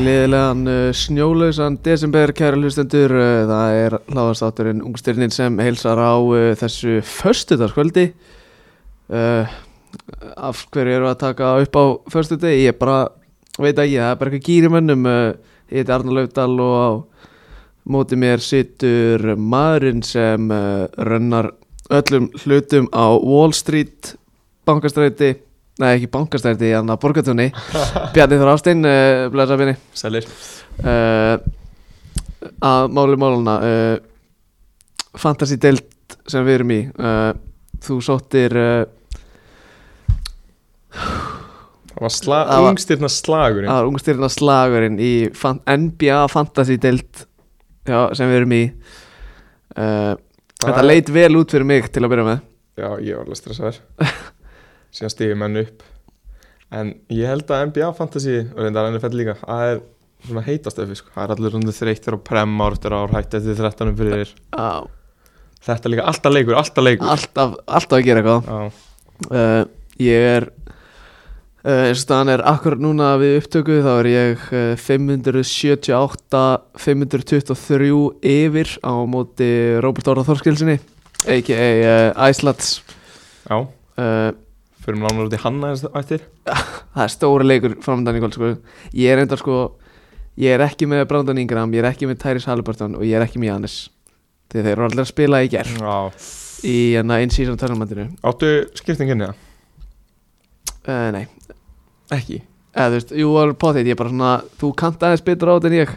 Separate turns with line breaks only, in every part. Gleðilegan uh, snjólausan desember, kæra hlustendur, uh, það er hláðastátturinn Ungstyrnin sem heilsar á uh, þessu föstudagskvöldi. Uh, af hverju erum við að taka upp á föstudegi? Ég bara, veit ekki, það er bara eitthvað gýri mönnum. Uh, ég heiti Arnar Laufdal og á móti mér situr maðurinn sem uh, rönnar öllum hlutum á Wall Street, bankastræti, nei ekki bankastræti, hann að borgatjóni, Bjarni Þór Ástein, uh, blæsa Bjarni.
Sælir
uh, að máli máluna uh, fantasy deild sem við erum í uh, þú sóttir uh,
Það var sla
Það var-
ungstirna slagurinn
að ungstyrna slagurinn í fan NBA fantasy deild já, sem við erum í uh, þetta leit vel út fyrir mig til að byrja með
Já, ég var alveg stressaður Síðan stíði menn upp En ég held að NBA Fantasy og reyndar NFL líka Það er svona heitast eftir sko Það er allir rundu þreyttir og premmar eftir ár hætti eftir 13 fyrir þér
uh,
Þetta líka alltaf leikur, alltaf leikur
alltaf, alltaf að gera eitthvað
Já,
uh, ég er uh, eins og staðan er akkurat núna við upptöku þá er ég uh, 578 523 yfir á móti Róbert Orða Þorskilsinni a.k.a. Uh, Icelands
já,
uh,
fyrir nánar út í hanna eftir
það er stóra leikur framöndan í kvöld sko. ég er enda sko ég er ekki með Brandon Ingram, ég er ekki með Tyrese Halliburton og ég er ekki með Jannis þegar þeir eru allir að spila í gerð
Já,
í hérna in-season törnumandinu
áttu skiptinginni það?
uh, nei,
Ekki
eða þú veist, jú alveg potið ég er bara svona, þú kannt aðeins betur á þetta en ég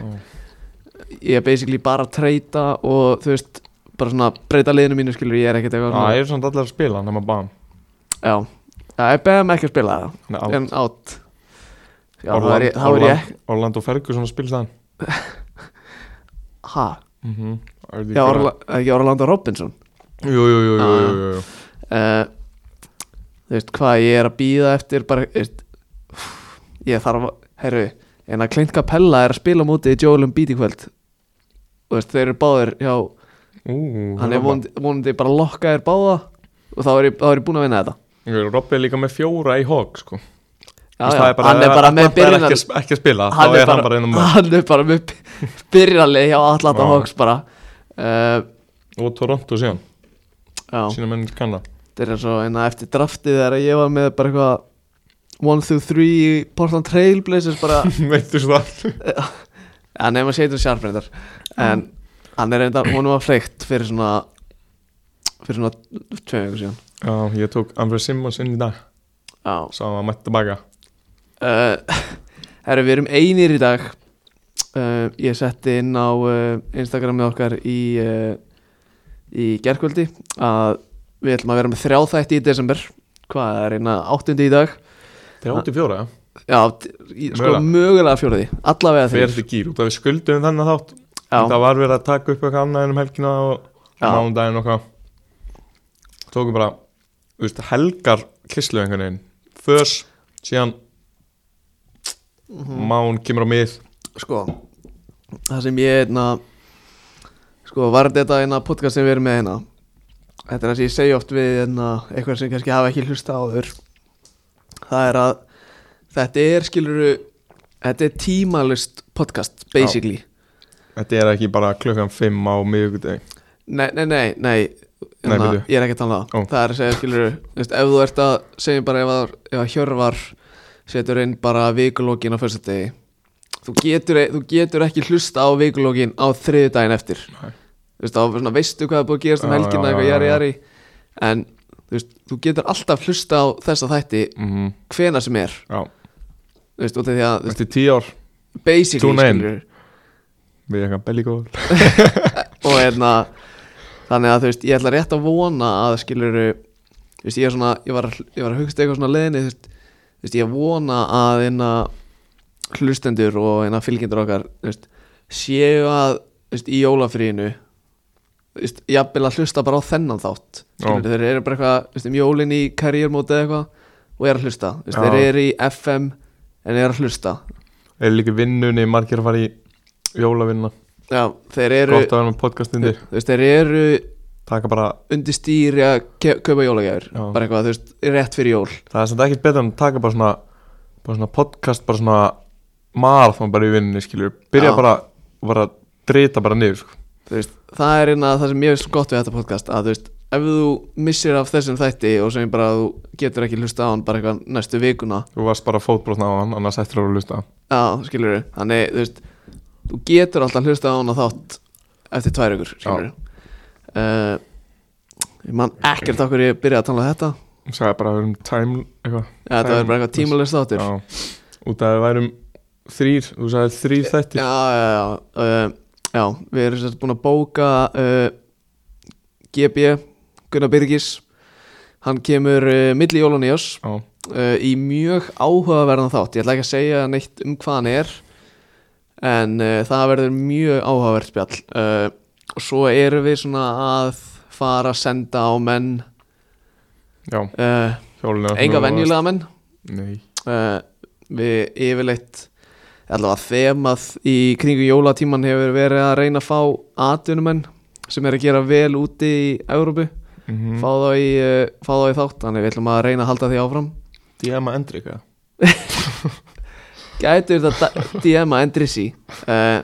ég er basically bara að treyta og þú veist, bara svona breyta liðinu mínu skilur, ég er ekkert eitthvað
Það
svona
eru samt allir að spila, nema Bam
Já, Já, ég beðum ekki að spila það
Hann er out.
en átt Já, þá er ég,
Orland-
þá er ég
Orland- Orlando Ferguson spilst hann
Hæ?
Mhm. Er því
Já,
hver-
Orla, ekki Orlando Robinson
Jú, jú, jú, jú,
Ah.
jú, jú, jú.
uh, Þú veist, hvað ég er að býða eftir bara, þú veist Ég þarf að, herru En að Clint Capella er að spila á móti í Joel Embiid í kvöld Þú veist, þeir eru báðir Já,
Ú, hérna
hann er
Robba.
vonandi, vonandi bara lokkaðir báða Og þá er ég, þá er ég búin að vinna þetta
Jú, Robbi er líka með fjóra í hog sko.
Já,
Þú veist,
já,
það er bara-
hann er bara með
Atlanta er
byrjunar
ekki, að- ekki að spila,
hann
þá
er Ah.
er hann bara einum
hann er bara með byrjunarlið hjá Atlanta
Já.
Hawks bara uh,
og Toronto síðan,
já,
sína mennir kanna
þetta er eins og en eftir draftið þegar ég var með bara eitthvað 1 through 3 í Portland Trail Blazers bara,
veitur svo það
hann er maður seitur sjarfrindar en hann er reyndar, honum var fleikt fyrir svona fyrir svona tveim vikur síðan
Já, ég tók André Simmons inn í dag
já,
svo hann var mætt tilbaka
uh, herru, við erum einir í dag uh, ég setti inn á uh, Instagramið okkar í uh, í gerkvöldi að við ætlum að vera með þrjá þætti í desember hvað er eina áttundi í dag
Þeir eru 84, ja?
já, t- í- sko
Mögulega.
mögulega fjóruði allavega
Þeir eru
þeir
þetta gýr út af við skuldum þannig þátt
já,
Það var verið að taka upp eitthvað annað en um helgina og
Já.
mándaginn og hvað Tókum bara, þú veist, helgar kislu einhvern veginn Förs, síðan
Mhm.
Mán kemur á mið
sko það sem ég einna sko var þetta eina podcast sem við erum með hérna þetta er það sem ég segi oft við einna eitthvað sem kannski hafa ekki hlusta áður það er að þetta er skiluru þetta er tímalust podcast basically
Þetta er ekki bara klukkan 5 á miðugudegi
Nei, nei, nei, nei,
Nei,
hérna,
byrju.
ég er ekki að tala um það
Ó.
Það er að segja, skilur, veist, ef þú ert að segja bara ef að, ef að hjörvar setur inn bara vikulókin á fyrstudegi þú getur, e, þú getur ekki hlusta á vikulókin á þriðu daginn eftir
Nei.
Þú veist, þá svona veistu hvað er búið að gerast um
Já,
helgina
já,
eitthvað
já,
jari,
já.
jari en þú, veist, þú getur alltaf hlusta á þessa þætti
mm -hmm.
hvena sem er
Já,
þú veist, út af því að, þú veist,
eftir 10 ár
basically,
Tune in.
skilur
Við erum eitthvað bellikóður
og hérna þannig að þú veist, ég ætla rétt að vona að skilur þú veist, ég er svona ég var, að hl- ég var að hugsa eitthvað svona leðinni þú veist, þú veist, ég vona að hérna hlustendur og hérna fylgjendur okkar þú veist, séu að þú veist, í jólafríinu þú veist, jafnvel að hlusta bara á þennan þátt skilur, þeir eru bara eitthvað, þú veist, um jólin í karriérmóti eða eitthvað og eru að hlusta þú veist,
Já.
þeir eru í FM en eru að hlusta
Þeir eru líka í vinnunni, margir að fara í jólavinna
Já, þeir eru,
Gott að vera með podcast
þú
undir
veist, þeir eru
Taka bara,
undir stýri að ke- kaupa jólagjafir
Já.
bara eitthvað, þú veist, rétt fyrir jól
það er samt ekkert betra en að taka bara svona Bara svona podcast, bara svona marathon bara í vinnunni skilur byrja
Já.
bara, bara að drita bara niður sko.
þú veist, það er eina það sem ég veist gott við þetta podcast að þú veist, ef þú missir af þessum þætti og sem bara þú getur ekki hlusta á hann bara eitthvað næstu vikuna
þú varst bara fótbrotna á hann annars ættir að hlusta
já, skilur við, þannig þú veist þú getur alltaf hlusta á hann og þátt eftir tvær ykkur, skilur við ég man ekkert á hverju ég byrjaði að tala um þetta
og sagði bara um time eitthvað
Já, þetta
Time-
verður bara eitthvað tímulegst þáttur
já, út að við værum þrýr þú sagði þrýr þættir
já, já, já, uh, já við erum sérst búin að bóka uh, GB Gunnar Byrgis hann kemur uh, milli jólun í oss
Já.
uh, í mjög áhugaverðan þátt ég ætla ekki að segja neitt um hvað hann er en uh, það verður mjög áhugaverð spjall uh, og svo erum við svona að fara að senda á menn
já,
uh,
hjólinu
enga venjulega menn
nei,
uh, við yfirleitt allavega þemað í kringu jólatíman hefur verið að reyna að fá atvinnumenn sem er að gera vel úti í Európu,
mm
fá, þá í, uh, fá þá í þátt, þannig við ætlum að reyna að halda því áfram
DM að endri eitthvað
gætur þetta DM að endri sí uh,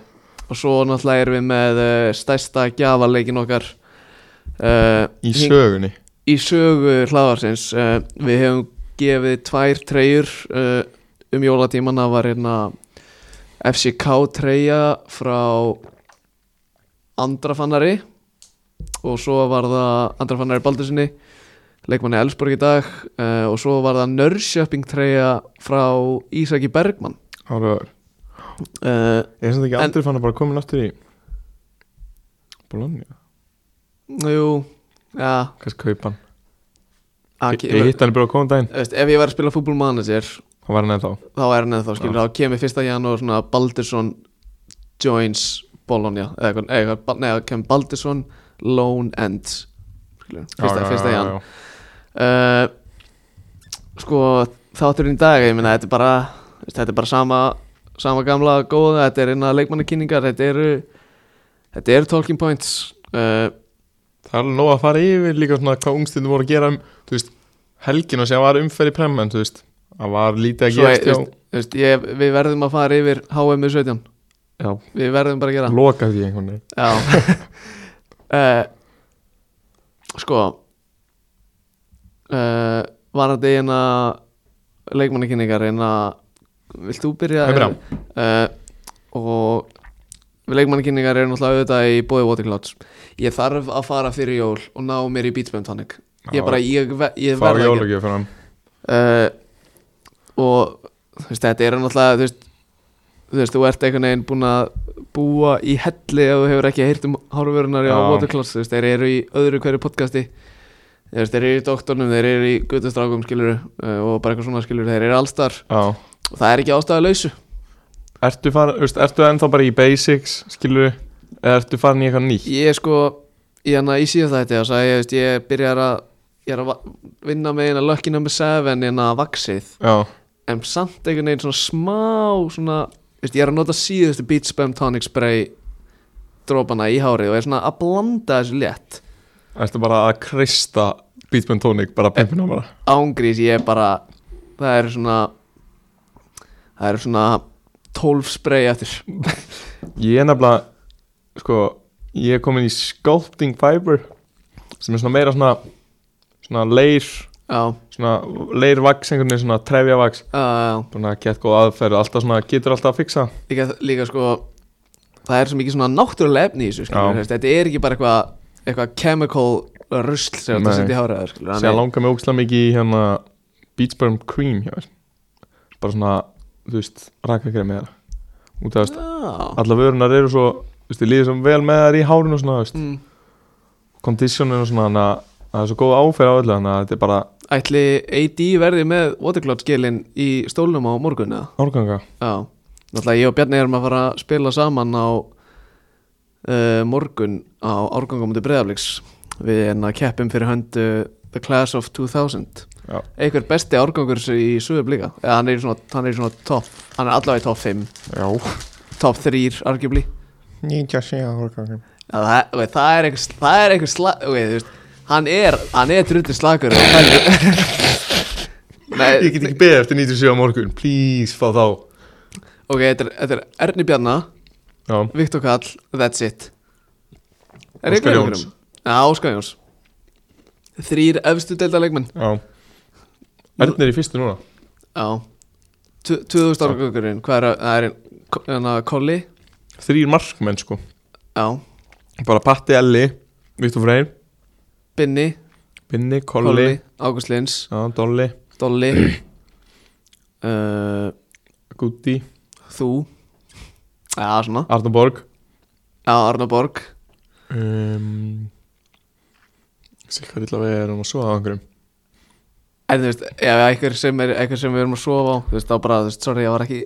og svo náttúrulega erum við með uh, stærsta gjafarleikin okkar uh,
í sögunni
í sögu hlaðarsins uh, við hefum gefið tvær treyjur uh, um jólatíman það var hérna FCK treyja frá Andrafannari og svo var það Andrafannari Baldursinni leikmanni Elsborg í dag uh, og svo var það Nörrköping treyja frá Ísaki Bergmann
Áraður.
uh,
ég er sem þetta ekki
En-
andri fann að bara komin aftur í Bologna
jú, já
kannski kaupan ég,
okay,
ég hitt hann bara á komum daginn
veist, ef ég var að spila fútbol manager
hann var hérna hann eða þá
þá er hann eða þá skilur þá kemur fyrsta janúar svona Baldursson joins Bologna eða eitthvað, eða eitthvað, Bal- nei, þá kemur Baldursson lone end skilur, fyrsta, fyrsta jan uh, sko þátturinn í dag, ég meina þetta er bara veist, þetta er bara sama, sama gamla góða, þetta er einna leikmannakynningar þetta eru þetta eru talking points uh,
Það er alveg nóg að fara yfir líka svona hvað ungstundum voru að gera um, þú veist, helgin og sér var umferð í prem en þú veist, það var lítið að
svo, ég,
gerast hjá,
veist, veist, ég, við verðum að fara yfir HM 17
já,
við verðum bara að gera
loka því einhvern veginn.
Já uh, Sko uh, Var þetta eina leikmannakynningar eina Vilt þú byrja?
Emra.
Uh, og leikmannakynningar eru náttúrulega auðvitað í bóði Waterclouds Ég þarf að fara fyrir jól og ná mér í Beatspump Tonic Ég
Já,
bara, ég, ve- ég
Fá
verð ekki
jólugjöf fyrir hann.
uh, og þú veist, þetta er náttúrulega þú veist, þú veist, þú ert einhvern veginn búin að búa í helli ef þú hefur ekki heyrt um hárvörunar á
Já.
Watercloss, þú veist, þeir eru í öðru hverju podcasti þú veist, þeir eru í doktornum þeir eru í guttustrákum skilur uh, og bara eitthvað svona skilur, þeir eru allstar
Já.
og það er ekki ástæðu lausu
Ertu fara, þú veist, ertu ennþá bara í basics, skilur eða ertu farin í eitthvað nýtt?
ég er sko, í hana í síðan þetta þá sagði ég, þú veist, ég byrjar að ég er að va- vinna með eina lucky number 7 en að vaxið
Já,
en samt einhvern veginn svona smá svona, veist, ég er að nota síðustu Beach Spam Tonic Spray drópana í hárið og er svona að blanda þessu létt
ertu bara að kreista Beatman Tonic, bara pimpina bara.
ángrís ég er bara það eru svona það eru svona 12 spray eftir
Ég er nefnilega, sko, ég er komin í Sculpting Fiber, sem er svona meira svona, svona leir,
já,
svona leirvaks einhvern veginn, svona trefjavaks
já, já,
Svona gett góð aðferð, alltaf svona, getur alltaf að fixa
líka, líka sko það er svo mikið svona náttúrulega efni í þessu
Já.
skilur, þú veist, þetta er ekki bara eitthvað eitthvað chemical rusl sem þetta
Nei.
setja í hárið á þér, skilur,
Sér langar mig ógslag mikið í hérna Beachburn Cream hjá þér Bara svona, þú veist, rakakremi þeirra Út af, þú veist,
já,
alla vörunar eru svo, þú veist, ég líður sem vel með þær í hárinu og svona, þú veist
mm,
Conditionin og svona, þannig að það er svo góð áferð á öllu Þannig að þetta er bara
ætli AD verði með watercloud skilin í stólnum á morgun eða?
árganga
Já, náttúrulega ég og Bjarni erum að fara að spila saman á uh, morgun á árgangamundi breyðafleiks við hérna keppum fyrir höndu The Class of 2000
Já.
einhver besti árgangur í sögur blíka eða hann er í svona, hann er í svona top hann er allavega í top 5,
Já,
top 3 arguably
nýja sé að árganga
Já, það, veit, það er einhver, það er einhver slag veit, þú veist, hann er, hann er drullið slagur og það er Nei,
Ég get ekki beðið eftir 97 á morgun, please, fá þá
Ok, þetta er, þetta er Erni Bjarna,
Já,
Viktor Kall, that's it Er
Óskar
einhver í
Jóns.
einhverjum? Já, Óskar Jóns Þrýr efstu deildarleikmenn
já Erna er í fyrstu núna
Já Tv- 2000 ára gökurinn, hvað er að- það er ein- ko- hérna Kolli
Þrýr markmenn sko
Já,
Bara Patti Elli, Viktor Freyr
Binni,
Binni, Kolli,
Kolli, Ágúst Lins
Já, Dolly,
Dolly uh,
Gutti
Þú Já, svona
Arnur Borg
Já, Arna Borg
um, Sikkur illa við erum að sofa á einhverjum
En þú veist, já, eitthvað sem, er, eitthvað sem við erum að sofa á Þú veist, þá bara, þú veist, sorry, ég var ekki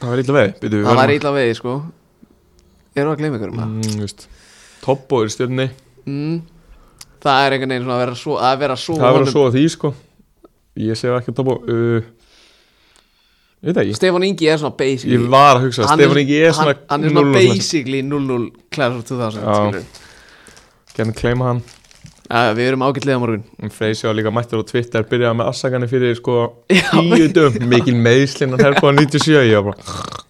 Það var illa við, byrju
Það
við verðum
var
að-
illa vegi, sko Erum við að gleyma ykkur um það?
Mm, þú veist. Tobbo er í stjörni
Mm. Það er einhvern veginn svona að vera svo Að vera svo
Það verður að
honum.
sofa því sko Ég sé ekki Tobbo uh, Ég veit það ekki
Stefán Ingi er svona basically
Ég var að hugsa,
hann
Stefán Ingi er svona
hann, hann er svona
0-0 svona.
basically 0-0 Class of 2000
Já.
skilurðu.
Gerðin kleima hann
Já, Við erum ágætlega morgun
um Freysi var líka mættur á Twitter Byrjaði með afsakani fyrir sko
Já.
Tíu döm, mikil meðslinn Hann herfði á 97 Ég var bara,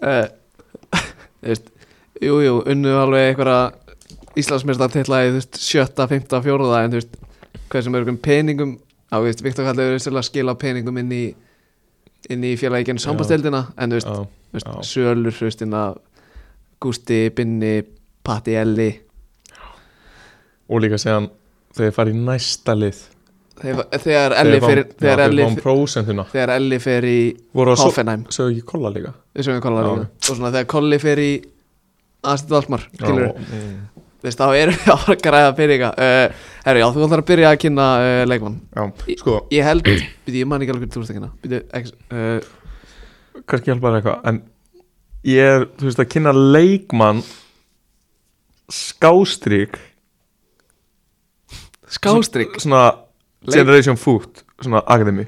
uh, veist, Jú, jú, unnu alveg einhverja Íslandsmeistar titla í þú veist, sjötta, fymta, fjóruða en þú veist, hversu mörgum peningum á, þú veist, Viktor Kallur er sérlega að skila peningum inn í inn í félagi genn sambasteldina en þú veist,
á,
þú veist,
já.
Sölur, þú veist, inna Gústi, Binni, Patti, Elli
Og líka segja Þegar ég farið í næsta lið
þegar, þegar Elli
fá-
fer þegar
já,
Elli
Þegar fá prósentuna
þegar Elli fer í
Voru að sofa
Hoffenheim
Sögðu ekki kolla líka
við sögum kolla
Já.
líka og svona þegar Kolli fer í Astit Valmar skilur
Já, mm,
þú veist þá erum við að fara að græða peninga uh, herru já þú ætlar að byrja að kynna uh, leikmann
já, sko
ég held byrju ég man ekki alveg hvernig þú ert að kynna byrju ekki uh,
kannski hjálpa þér eitthvað en ég er, þú veist, að kynna leikmann skástrík
skástrygg
svona
Leik-
Generation Foot svona Academy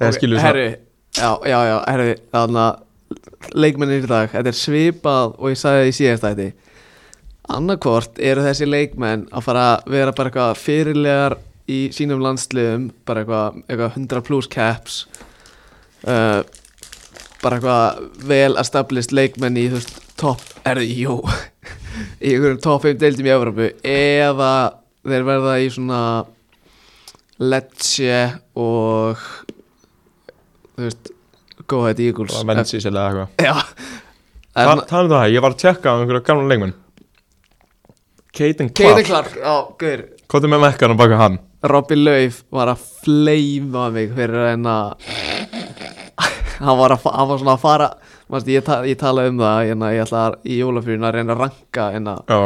Eða skilur svona-
herru Ah, já já já herru þarna leikmennir í dag þetta er svipað og ég sagði í síðast ætti annarkvort eru þessi leikmenn að fara að vera bara eitthvað fyrirlegar í sínum landsliðum bara eitthvað, eitthvað 100 plus caps uh, bara eitthvað vel established leikmenn í þú veist topp, er það, jú í einhverjum topp 5 deildum í Evropu eða þeir verða í svona Lecce og þú veist Go Ahead Eagles
Vensis eða eitthvað
Já
Þa, Það er um það, ég var að tjekka á einhverja gamla leikmann Caden
Keita
Clark
Clark, já, guður
Kottum með mekkan og baka hann
Robby Lauf var að fleima mig fyrir að reyna hann var, að, fa- hann var svona að fara Manst, ég, ta ég talaði um það hérna, ég ætla að, í jólafyrin að reyna að ranka hérna,
Já,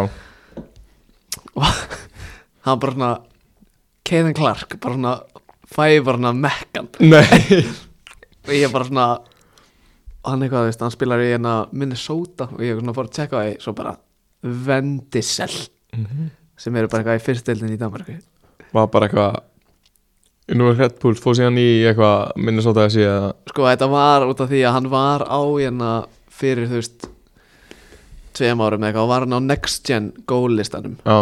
og hann bara svona Keithan Clark bara svona fæði bara svona mekkan
nei
og ég bara svona hann eitthvað, veist, hann spilar í hérna Minnesota og ég svona fór að tjekka það svo bara Vendisel sem eru bara eitthvað í fyrstildin í Danmarku
Var bara eitthvað Nú er Red Bull, fóð síðan í eitthvað Minnesota þessi eða
sko þetta var út af því að hann var á hérna fyrir þú veist tveim árum eða eitthvað og var hann á next gen goal listanum
Já,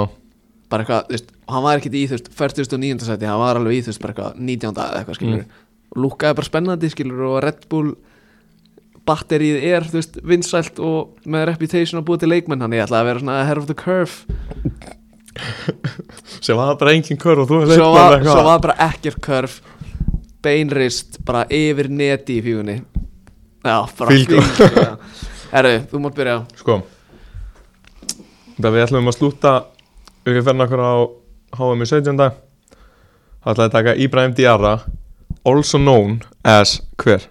bara eitthvað, þú veist, og hann var ekkert í þú veist 49. seti, hann var alveg í þú veist bara eitthvað 19. eða eitthvað skilur og
Mm.
lúkaði bara spennandi skilur og Red Bull batterið er þú veist vinsælt og með reputation að búið til leikmenn hann ég ætlaði að vera svona ahead of the curve
sem var bara engin kör og þú er
svo var, svo var bara ekkert curve beinrist bara yfir neti í fígunni já, bara
Fílgó.
fílgó, já. herru, þú mátt byrja
Sko Það við ætlum að slúta auðvitað okkur á HM í 17. Það ætlaði að taka Ibrahim Diarra Also known as hver?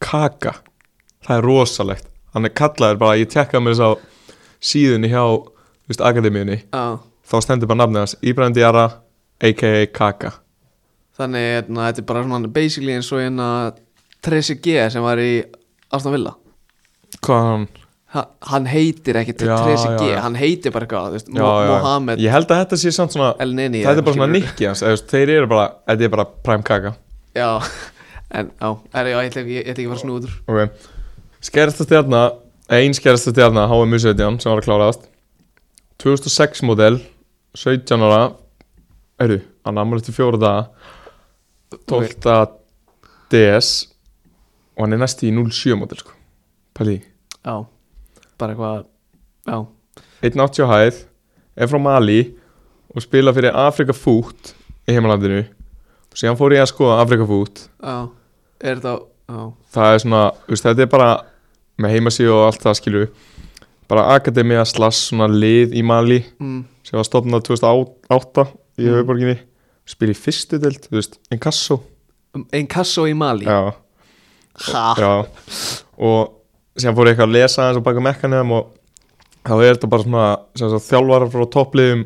Kaka Það er rosalegt Hann er kallaður bara, ég tekkaði mér þess á síðunni hjá þú veist, akademíunni
Já,
Þá stendur bara nafnið hans Ibrahim Diarra a.k.a. Kaka
þannig hérna, þetta er bara svona basically eins og hérna Tracy G sem var í Aston Villa
Hvað hann?
ha, hann heitir ekki
Já,
Tracy
já,
G
já.
hann heitir bara eitthvað, þú veist,
Já,
Mo-
já, já.
Mohamed
Ég held að þetta sé samt svona
El Nini
Þetta er
eða
bara svona
skilur.
nikki hans eða þú veist, Þeir eru bara, þetta er bara prime Kaka
já, en já, er, já ég ætla ekki, ég ætla ekki að fara svona út úr
Ok Skerðasta stjarna Einn skerðasta stjarna HM 17 sem var að kláraðast 2006 model 17 ára Eru, hann ammur eftir fjóra daga 12. DS og hann er næst í 07 mótil sko Pæli,
já, bara eitthvað já,
1.80 á hæð er frá Mali og spila fyrir Afrika Fút í heimalandinu og síðan fór ég að skoða Afrika Fút
já, er þetta á já,
það er svona, þú veist, þetta er bara með heimasíðu og allt það skilju bara Akademia slass svona lið í Mali
mm,
sem var stopnað 2008 í
Mm.
höfuborginni spila í fyrstu deild, þú veist, Inkasso
einn kasso um, í Mali
Já,
ha,
já og síðan fór ég eitthvað að lesa aðeins og baka mekkanum og þá er þetta bara svona sem sagt, þjálfarar frá toppliðum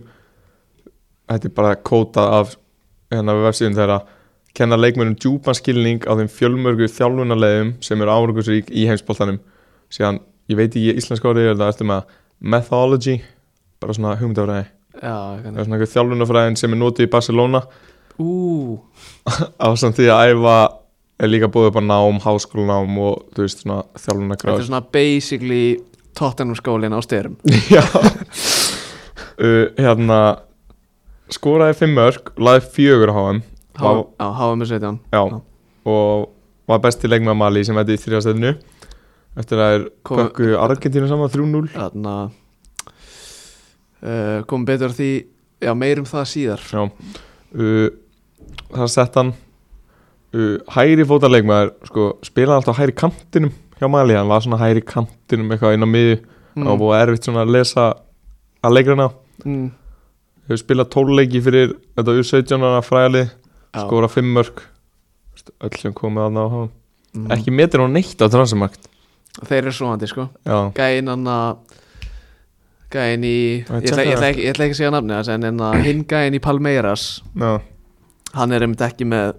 þetta er bara kóta af hérna við vefsíðum þeirra kenna leikmönnum djúpan skilning á þeim fjölmörgu þjálfunarleðum sem eru árangusrík í heimsbóltanum síðan, ég veit ekki íslenska orðið er það eftir með methodology bara svona hugmyndafræði
já,
það
hvernig
er svona eitthvað þjálfunarfræðin sem er notið í Barcelona
ú,
á samt því að æfa er líka búið upp á nám, háskólanám og þú veist svona þjálfunargráð
þetta er svona basically Tottenham skólin á styrum
Já uh, Hérna Skoraði fimm mörg, laði fjögur á HM
á HM17
Já
Já.
Og var besti leikmaður Mali sem hætti í þrjastæðinu Eftir að þeir
Kom-
pökku Argentínu saman 3-0
þarna uh, komum betur að því já, meirum það síðar
Já uh, Það sett hann uh, Hæri fótaleikmaður sko, Spilaði alltaf á hæri kantinum hjá Mali Hann var svona hæri kantinum eitthvað inn á miði
Hmm.
mm. Og búið erfitt svona að lesa að leikrana
mm,
Hefur spilað tóluleiki fyrir þetta U17 fræðalið
já,
skora fimm mörg Veist, öll sem komið aðna á hann
mm.
ekki metir hún neitt á transumakt
þeir eru svoandi sko
já,
gæinn hann að gæinn í ég
Ég
ætla, ég, ætla
checka það.
ekki, ég ætla ekki að segja nafni þess en, en að hinn gæinn í Palmeiras
já.
hann er einmitt ekki með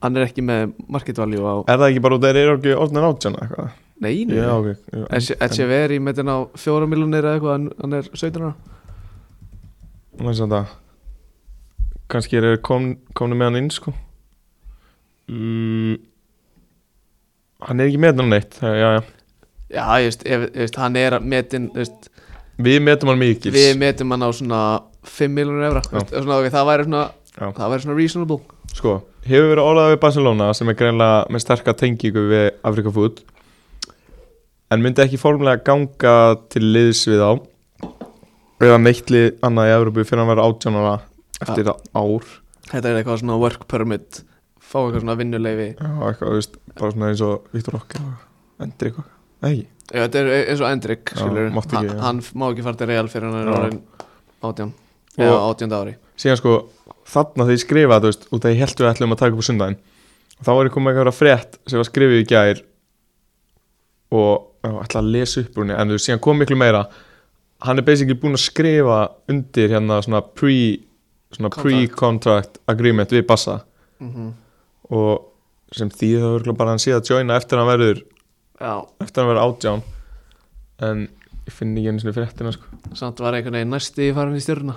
hann er ekki með market value á
er það ekki bara út að þeir eru ekki orðin átjana eitthvað
neinu
já, ok já.
Echeveri með þenn á fjóra miljonir eða eitthvað en hann er 17 ára
Nú er samt að- kannski er kom, komni með hann inn sko mm. hann er ekki metin hún neitt já, já, já.
já, ég veist, ef, ég veist hann er metin veist,
við metum hann mikils
við metum hann á svona 5 miljonir evra
Já.
veist, og svona, ok, það væri svona
Já.
það væri svona reasonable
sko, hefur verið orðað við Barcelona sem er greinlega með sterka tengingu við Afrika Food en myndi ekki formulega ganga til liðs við þá eða neitt lið annað í Evrópu fyrir að vera 18 ára eftir ár
þetta er eitthvað svona work permit fá eitthvað svona vinnuleifi
já, eitthvað, þú veist, bara svona eins og Viktor Okk endur eitthvað, nei,
Já, þetta er eins og Endrik
Já,
skilur,
mátti ekki,
hann,
já.
hann má ekki fara til Real fyrir hann er
Já.
orðin átján
Og-
eða átjánda ári
síðan sko þarna þegar ég skrifa þú veist, út að ég held við ætlum að taka upp á sundaginn og þá er ég komið eitthvað frétt sem var skrifið í gær og já, ætla að lesa upp úr henni en þú veist, síðan kom miklu meira hann er basically búinn að skrifa undir hérna svona pre svona
Contract.
pre-contract agreement við Bassa
mm
og sem því það verður bara að hann sé að joina eftir að hann verður
Já,
eftir að hann verður átján en ég finn ekki einu sinni fréttina sko
samt var einhvern veginn næsti farin í stjörna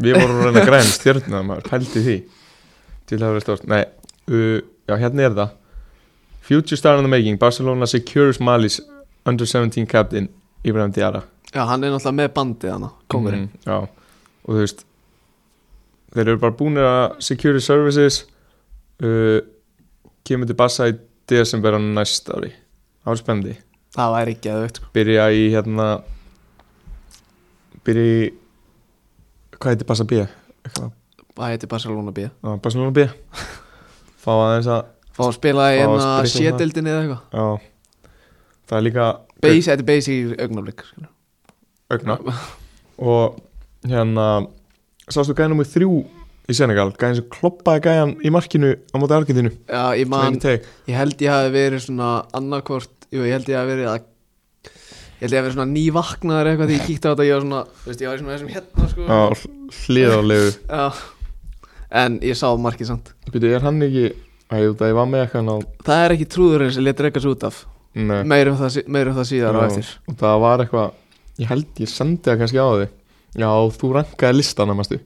Við vorum að reyna að græna stjörnuna maður pældi því til það verið stórt Nei, uh, já hérna er það Future star in the making Barcelona secures Mali's under 17 captain Ibrahim Diarra
Já, hann er náttúrulega með bandið hann kongurinn
mm, Já, og þú veist Þeir eru bara búinir að secure services uh, kemur til Barca í desember á næst ári Árspendi
Það væri sko. ekki að veit
Byrja í hérna Byrja í Hvað heitir Barca B? Eitthvað
Það heiti Barcelona B
Já, Barcelona B Fá aðeins að
Fá að spila í
Fá að
hérna
spila svona.
sétildinni eða eitthvað
já, Það er líka
Base, Þetta er basic í augnablik sko. skilur.
Ögna Og hérna Sástu gæðan um þrjú í Senegal Gæðan sem kloppaði gæðan í markinu á móti Argentinu
Já, ég man
Sveini Teig
Ég held ég hafi verið svona annarkvort Jú, ég held ég hafi verið að Ég held ég hafi verið svona nývaknaður eitthvað Því ég kíkti á þetta, ég var svona þú veist, Ég var í svona þessum hérna sko
Já, hliðarlegu
Já. En ég sá markið samt
Býtu, er hann ekki Æ, jú, það ég var með eitthvað á
Það er ekki trúðurinn sem letur eitthvað svo út af
Nei
Meir um það, sí- meira um það síðar á
Já.
eftir
Og það var eitthvað Ég held ég sendi það kannski á þig Já, þú rankaði listan að mastu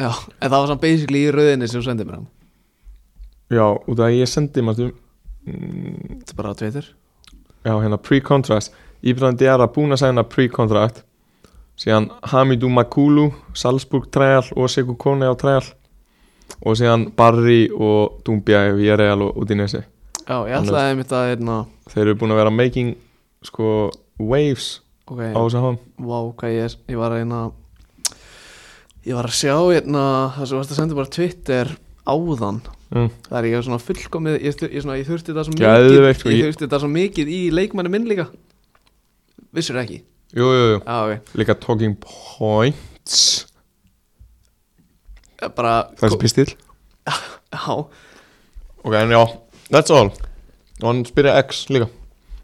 Já, en það var svona basically í rauðinni sem þú sendið mér hann
Já, út af að ég sendi mastu mm,
Þetta er bara á Twitter
Já, hérna pre-contract Íbrahim Diarra búin að segna pre-contract síðan Hamidou Makulu Salzburg træal og Sekou Kone á træal og síðan Barry og Dumbia í Real og Udinese
Já, ég
Hann er-
ætlaði einmitt að hérna, einna
Þeir eru búin að vera making sko waves
Ok,
á þessu háum
vá, hvað ég er Ég var að einna Ég var að sjá einna Það sem varst að senda bara Twitter áðan
mm.
Það er ég var svona fullkomið Ég, stu- ég, svona, ég þurfti það svo mikið
Geðveikt,
Ég
sko, ég-
þurfti það svo mikið í leikmanni minn líka Vissur ekki
Jú, jú, jú,
Já, ok
líka talking points
Ég Bara
Þessi pistil
Já,
Sko- Ok, en já, that's all Og hann spyrja X líka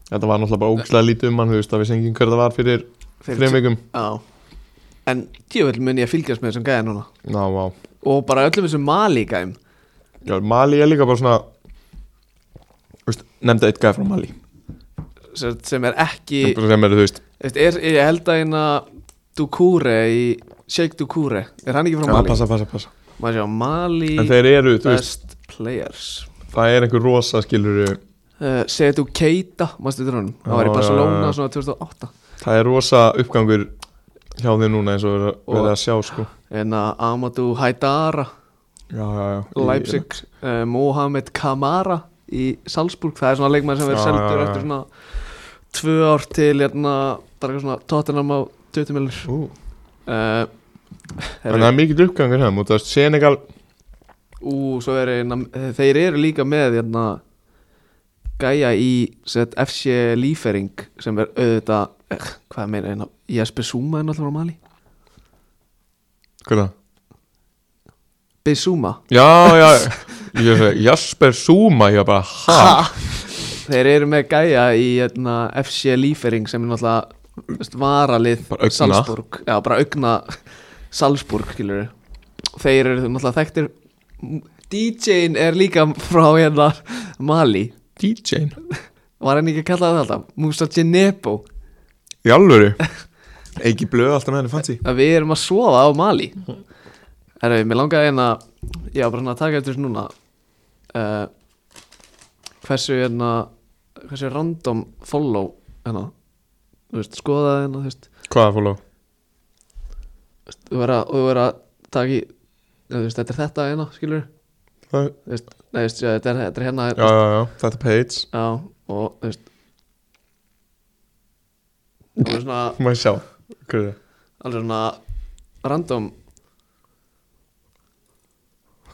Þetta var náttúrulega bara ógæslega lítið um hann Þú veist að við sengjum hver það var fyrir
fyrir-
þreim vikum
Já En djöfull mun ég að fylgjast með þessum gæði núna
Ná, vá
Og bara öllum þessum mali gæðum
Já, Mali er líka bara svona þú veist, Nefnda eitt gæði frá Mali
sem- Sem er ekki
Bara Sem eru, þú veist,
Eftir, er, ég held að hérna Dukure í Shake Dukure Er hann ekki frá
ja,
Mali?
passa, passa, passa
Maður sjá Mali
En þeir eru, þú veist,
Best Players
það er einhver rosa skiluru
uh, Setu Keita Mástu þetta honum? Það var
Já,
í
já,
Barcelona
já, já.
svona 2008
Það er rosa uppgangur hjá þeir núna eins og við
Og-
erum að sjá
En
sko
að Hérna Amadou Haidara
Já, já, já
Leipzig uh, Mohamed Kamara í Salzburg Það er svona leikmann sem verður
Já, já,
seldur
já.
eftir svona Tvö ár til hérna Bara eitthvað svona Tottenham á 20 millir
Ú,
uh,
En það er mikill uppgangur hefðum og það er Senegal
Ú, svo er einna, þeir eru líka með hérna, gæja í set, FC Lífering sem er auðvitað eh, hvað meina hérna, Jesper Suma er náttúrulega frá Mali
Hvað er það?
Besuma,
Já, já Ég er að segja, Jasper Zuma Ég er bara, ha?
þeir eru með gæja í hérna, FC Lífering sem er náttúrulega veist, varalið
Bara augna.
Salzburg, já bara augna Salzburg, skilur þeir eru náttúrulega þekktir DJ-in er líka frá hérna Mali,
DJ-n
var hann ekki að kalla það alltaf Musa Genebo
Í alvöru Ekki blöð alltaf með henni fancy
að við erum að sofa á Mali Herru, mér langaði hérna ég var bara svona að taka eftir þessu núna uh, hversu hérna hversu random follow hérna þú veist, skoða hérna, þú veist
Hvað er fóló?
þú verður að, þú verður að taka í þú veist, þetta er þetta hérna, skilur
Já,
þú veist, nei, þú veist, já, þetta er, þetta er hérna
já, já, þetta er page
já, og þú veist það er svona
Má ég sjá Hvað er það?
alveg svona random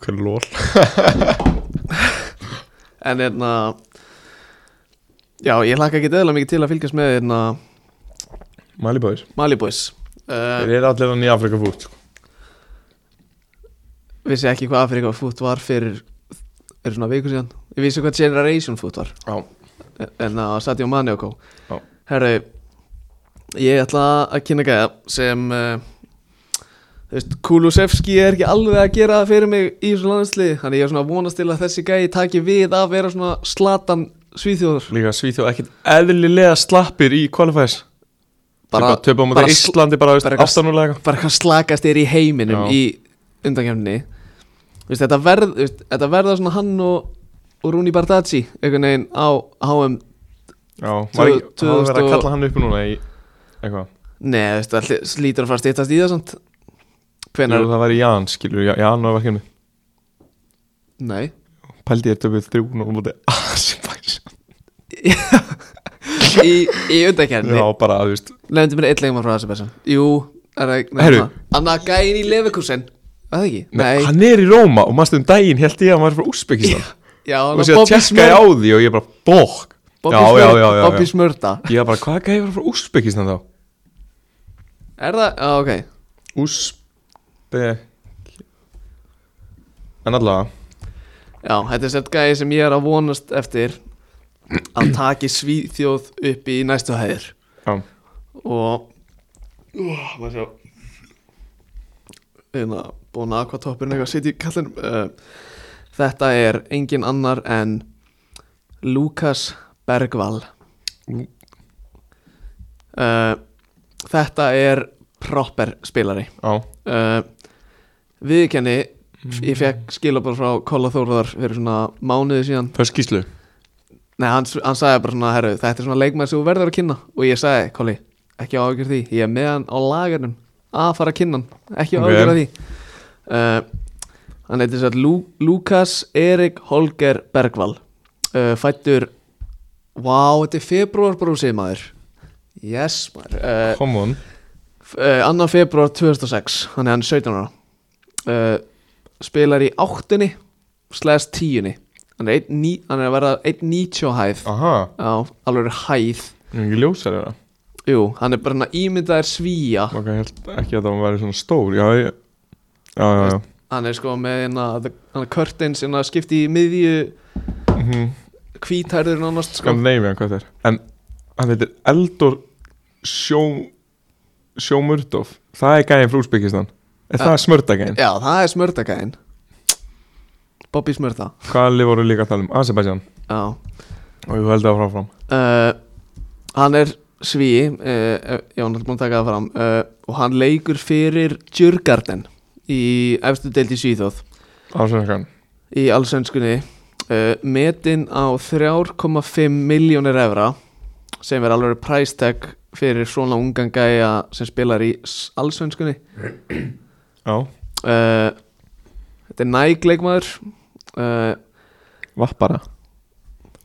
Hvað er lól?
En hérna Já, ég hlakka ekki eðla mikið til að fylgjast með hérna
Mali boys
Mali Boys uh,
Þeir eru allir hann í Afrika fút sko.
Vissi ekki hvað Afrika fút var fyrir fyrir svona viku síðan Ég vissi hvað Generation fút var
Já
En að Sadio Mane og
Já.
kó Herru, ég ætla að kynna gæða sem uh, Þú veist, Kulusevski er ekki alveg að gera það fyrir mig í þessu landslið Þannig ég er svona að vonast til að þessi gæði taki við að vera svona slatan svíþjóður
Líka Svíþjóð ekkert eðlilega slappir í qualifiers Bara töpa á móti
bara sl-
Íslandi bara,
bara
bara
eitthvað-
aftanulega
bara hvað slakast er í heiminum
Já.
í undankjöfni Vist, þetta, verð, veist, þetta verða svona hann og, og Rúni Bardacci einhvern veginn á HM
Já, var ekki,
Tvö-
það var verið að
2000
kalla hann upp núna í eitthvað
Nei, veist, það hli- slítur að fara að stýttast í það samt Hvenær?
Jú, það var í Jan, skilur, Ja- Jan var verkefni
Nei
Pældi ég töfum þrjún og mútið Asibæs
Í, í undankjöfni
Já, bara, þú veist
Nefndi mér einn leikmann frá Azerbaijan Jú, er það
Heyrðu.
nefna Anna Gæin í Leverkusen Var það ekki?
Nei. Hann er í Róma og mannstu um daginn held ég að hann var frá Úsbekistan
Já,
Og sér að tjekka ég á því og ég bara, bók Já, já, já, já,
Bobby
já.
Smörda
Ég var bara, hvað gæði var frá Úsbekistan þá?
Er það? Já, ok
Úsbe En allavega
Já, þetta er sett gæði sem ég er að vonast eftir að taki Svíþjóð upp í næstu hæðir
Já,
og Úh, maður sjá Einna, búin hérna, að hvað toppurinn eitthvað sitt í kallinum uh, Þetta er engin annar en Lukas Bergvall Eh,
Lú-
uh, Þetta er proper spilari
já,
uh, Viðkenni Ég fekk skilabóð frá Kolla Þórðar fyrir svona mánuði síðan
það er skýslu
Nei, hann, hann sagði bara svona, herru, þetta er svona leikmæður sem þú verður að kynna Og ég sagði, Kolli, ekki áhyggjur því Ég er með hann á lagarnum að fara að kynna hann Ekki
Ok.
áhyggjur Eh, okay. því uh, Hann heitir svo að Lú, Lukas Erik Holger Bergvall uh, fættur Vá, þetta er februar brúsið maður Yes maður uh,
Come on
f- uh, 2. februar 2006 Hann er hann 17 ára uh, Spilar í áttunni Slæðast tíunni Hann er, 1, 9, hann er að verða 1.90 á hæð
Aha,
Já, alveg er hæð
ég er ekki ljósar þeirra
Jú, hann er bara hann að ímyndaðir svíja
Maka held ekki að það var svona stór Já, ég Já, já, já
Hann er sko með hérna Hann er curtains hérna skipti í miðju
mm -hmm.
Hvítærður nánast sko
Skandinavian, hvað það er En hann heitir Eldor Sjó Sjómurdov Það er gæðin frá Úsbyggistan Er það smördagæðin?
Já, það er smördagæðin Bobby smörda
Hvað lið voru líka að tala um? Azerbaijan
Já
Og ég held það frá fram
uh, Hann er svíi uh, Já, hann er búin að taka það fram uh, Og hann leikur fyrir Djurgarden Í efstu deild í Svíþóð
Ásvenskan
Í allsönskunni uh, Metin á 3,5 miljónir evra Sem er alveg price tag Fyrir svona ungan gæja Sem spilar í allsönskunni
Já
uh, Þetta er nægleikmaður uh,
Vappara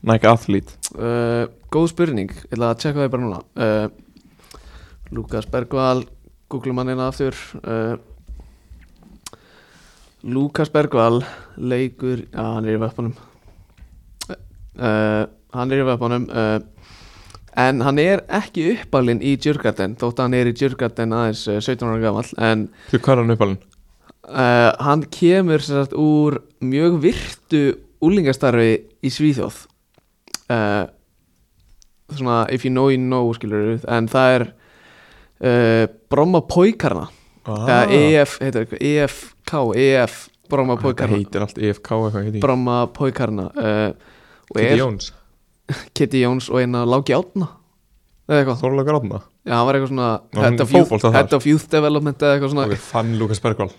Nike Athlete
Uh, góð spurning, ég ætla að tjekka það bara núna uh, Lukas Bergvall googlum hann hérna aftur uh, Lukas Bergvall leikur, já hann er í veppunum uh, hann er í veppunum uh, en hann er ekki uppalinn í Djurgarden þótt að hann er í Djurgarden aðeins uh, 17 ára gamall en
Þú, hvað er hann uppalinn?
uh, hann kemur sem sagt, úr mjög virtu úlingastarfi í Svíþjóð uh, svona if you know you know skilur en það er uh, Bromma Póikarna eða E EF, heitir eitthvað, EFK EF E Bromma
Ah. Þetta
Póikarna
Ah, heitir allt E EFK eitthvað heitir
Bromma Póikarna uh, og
Kitty
er
Jones
Kitty Jóns og eina Láki Átna eða eitthvað,
Þorlega Grafna
já hann var eitthvað svona
Var hann
head of,
í
youth,
fótbolta þar?
head of Youth Development eða eitthvað svona
Ok, fann Lukas Bergvall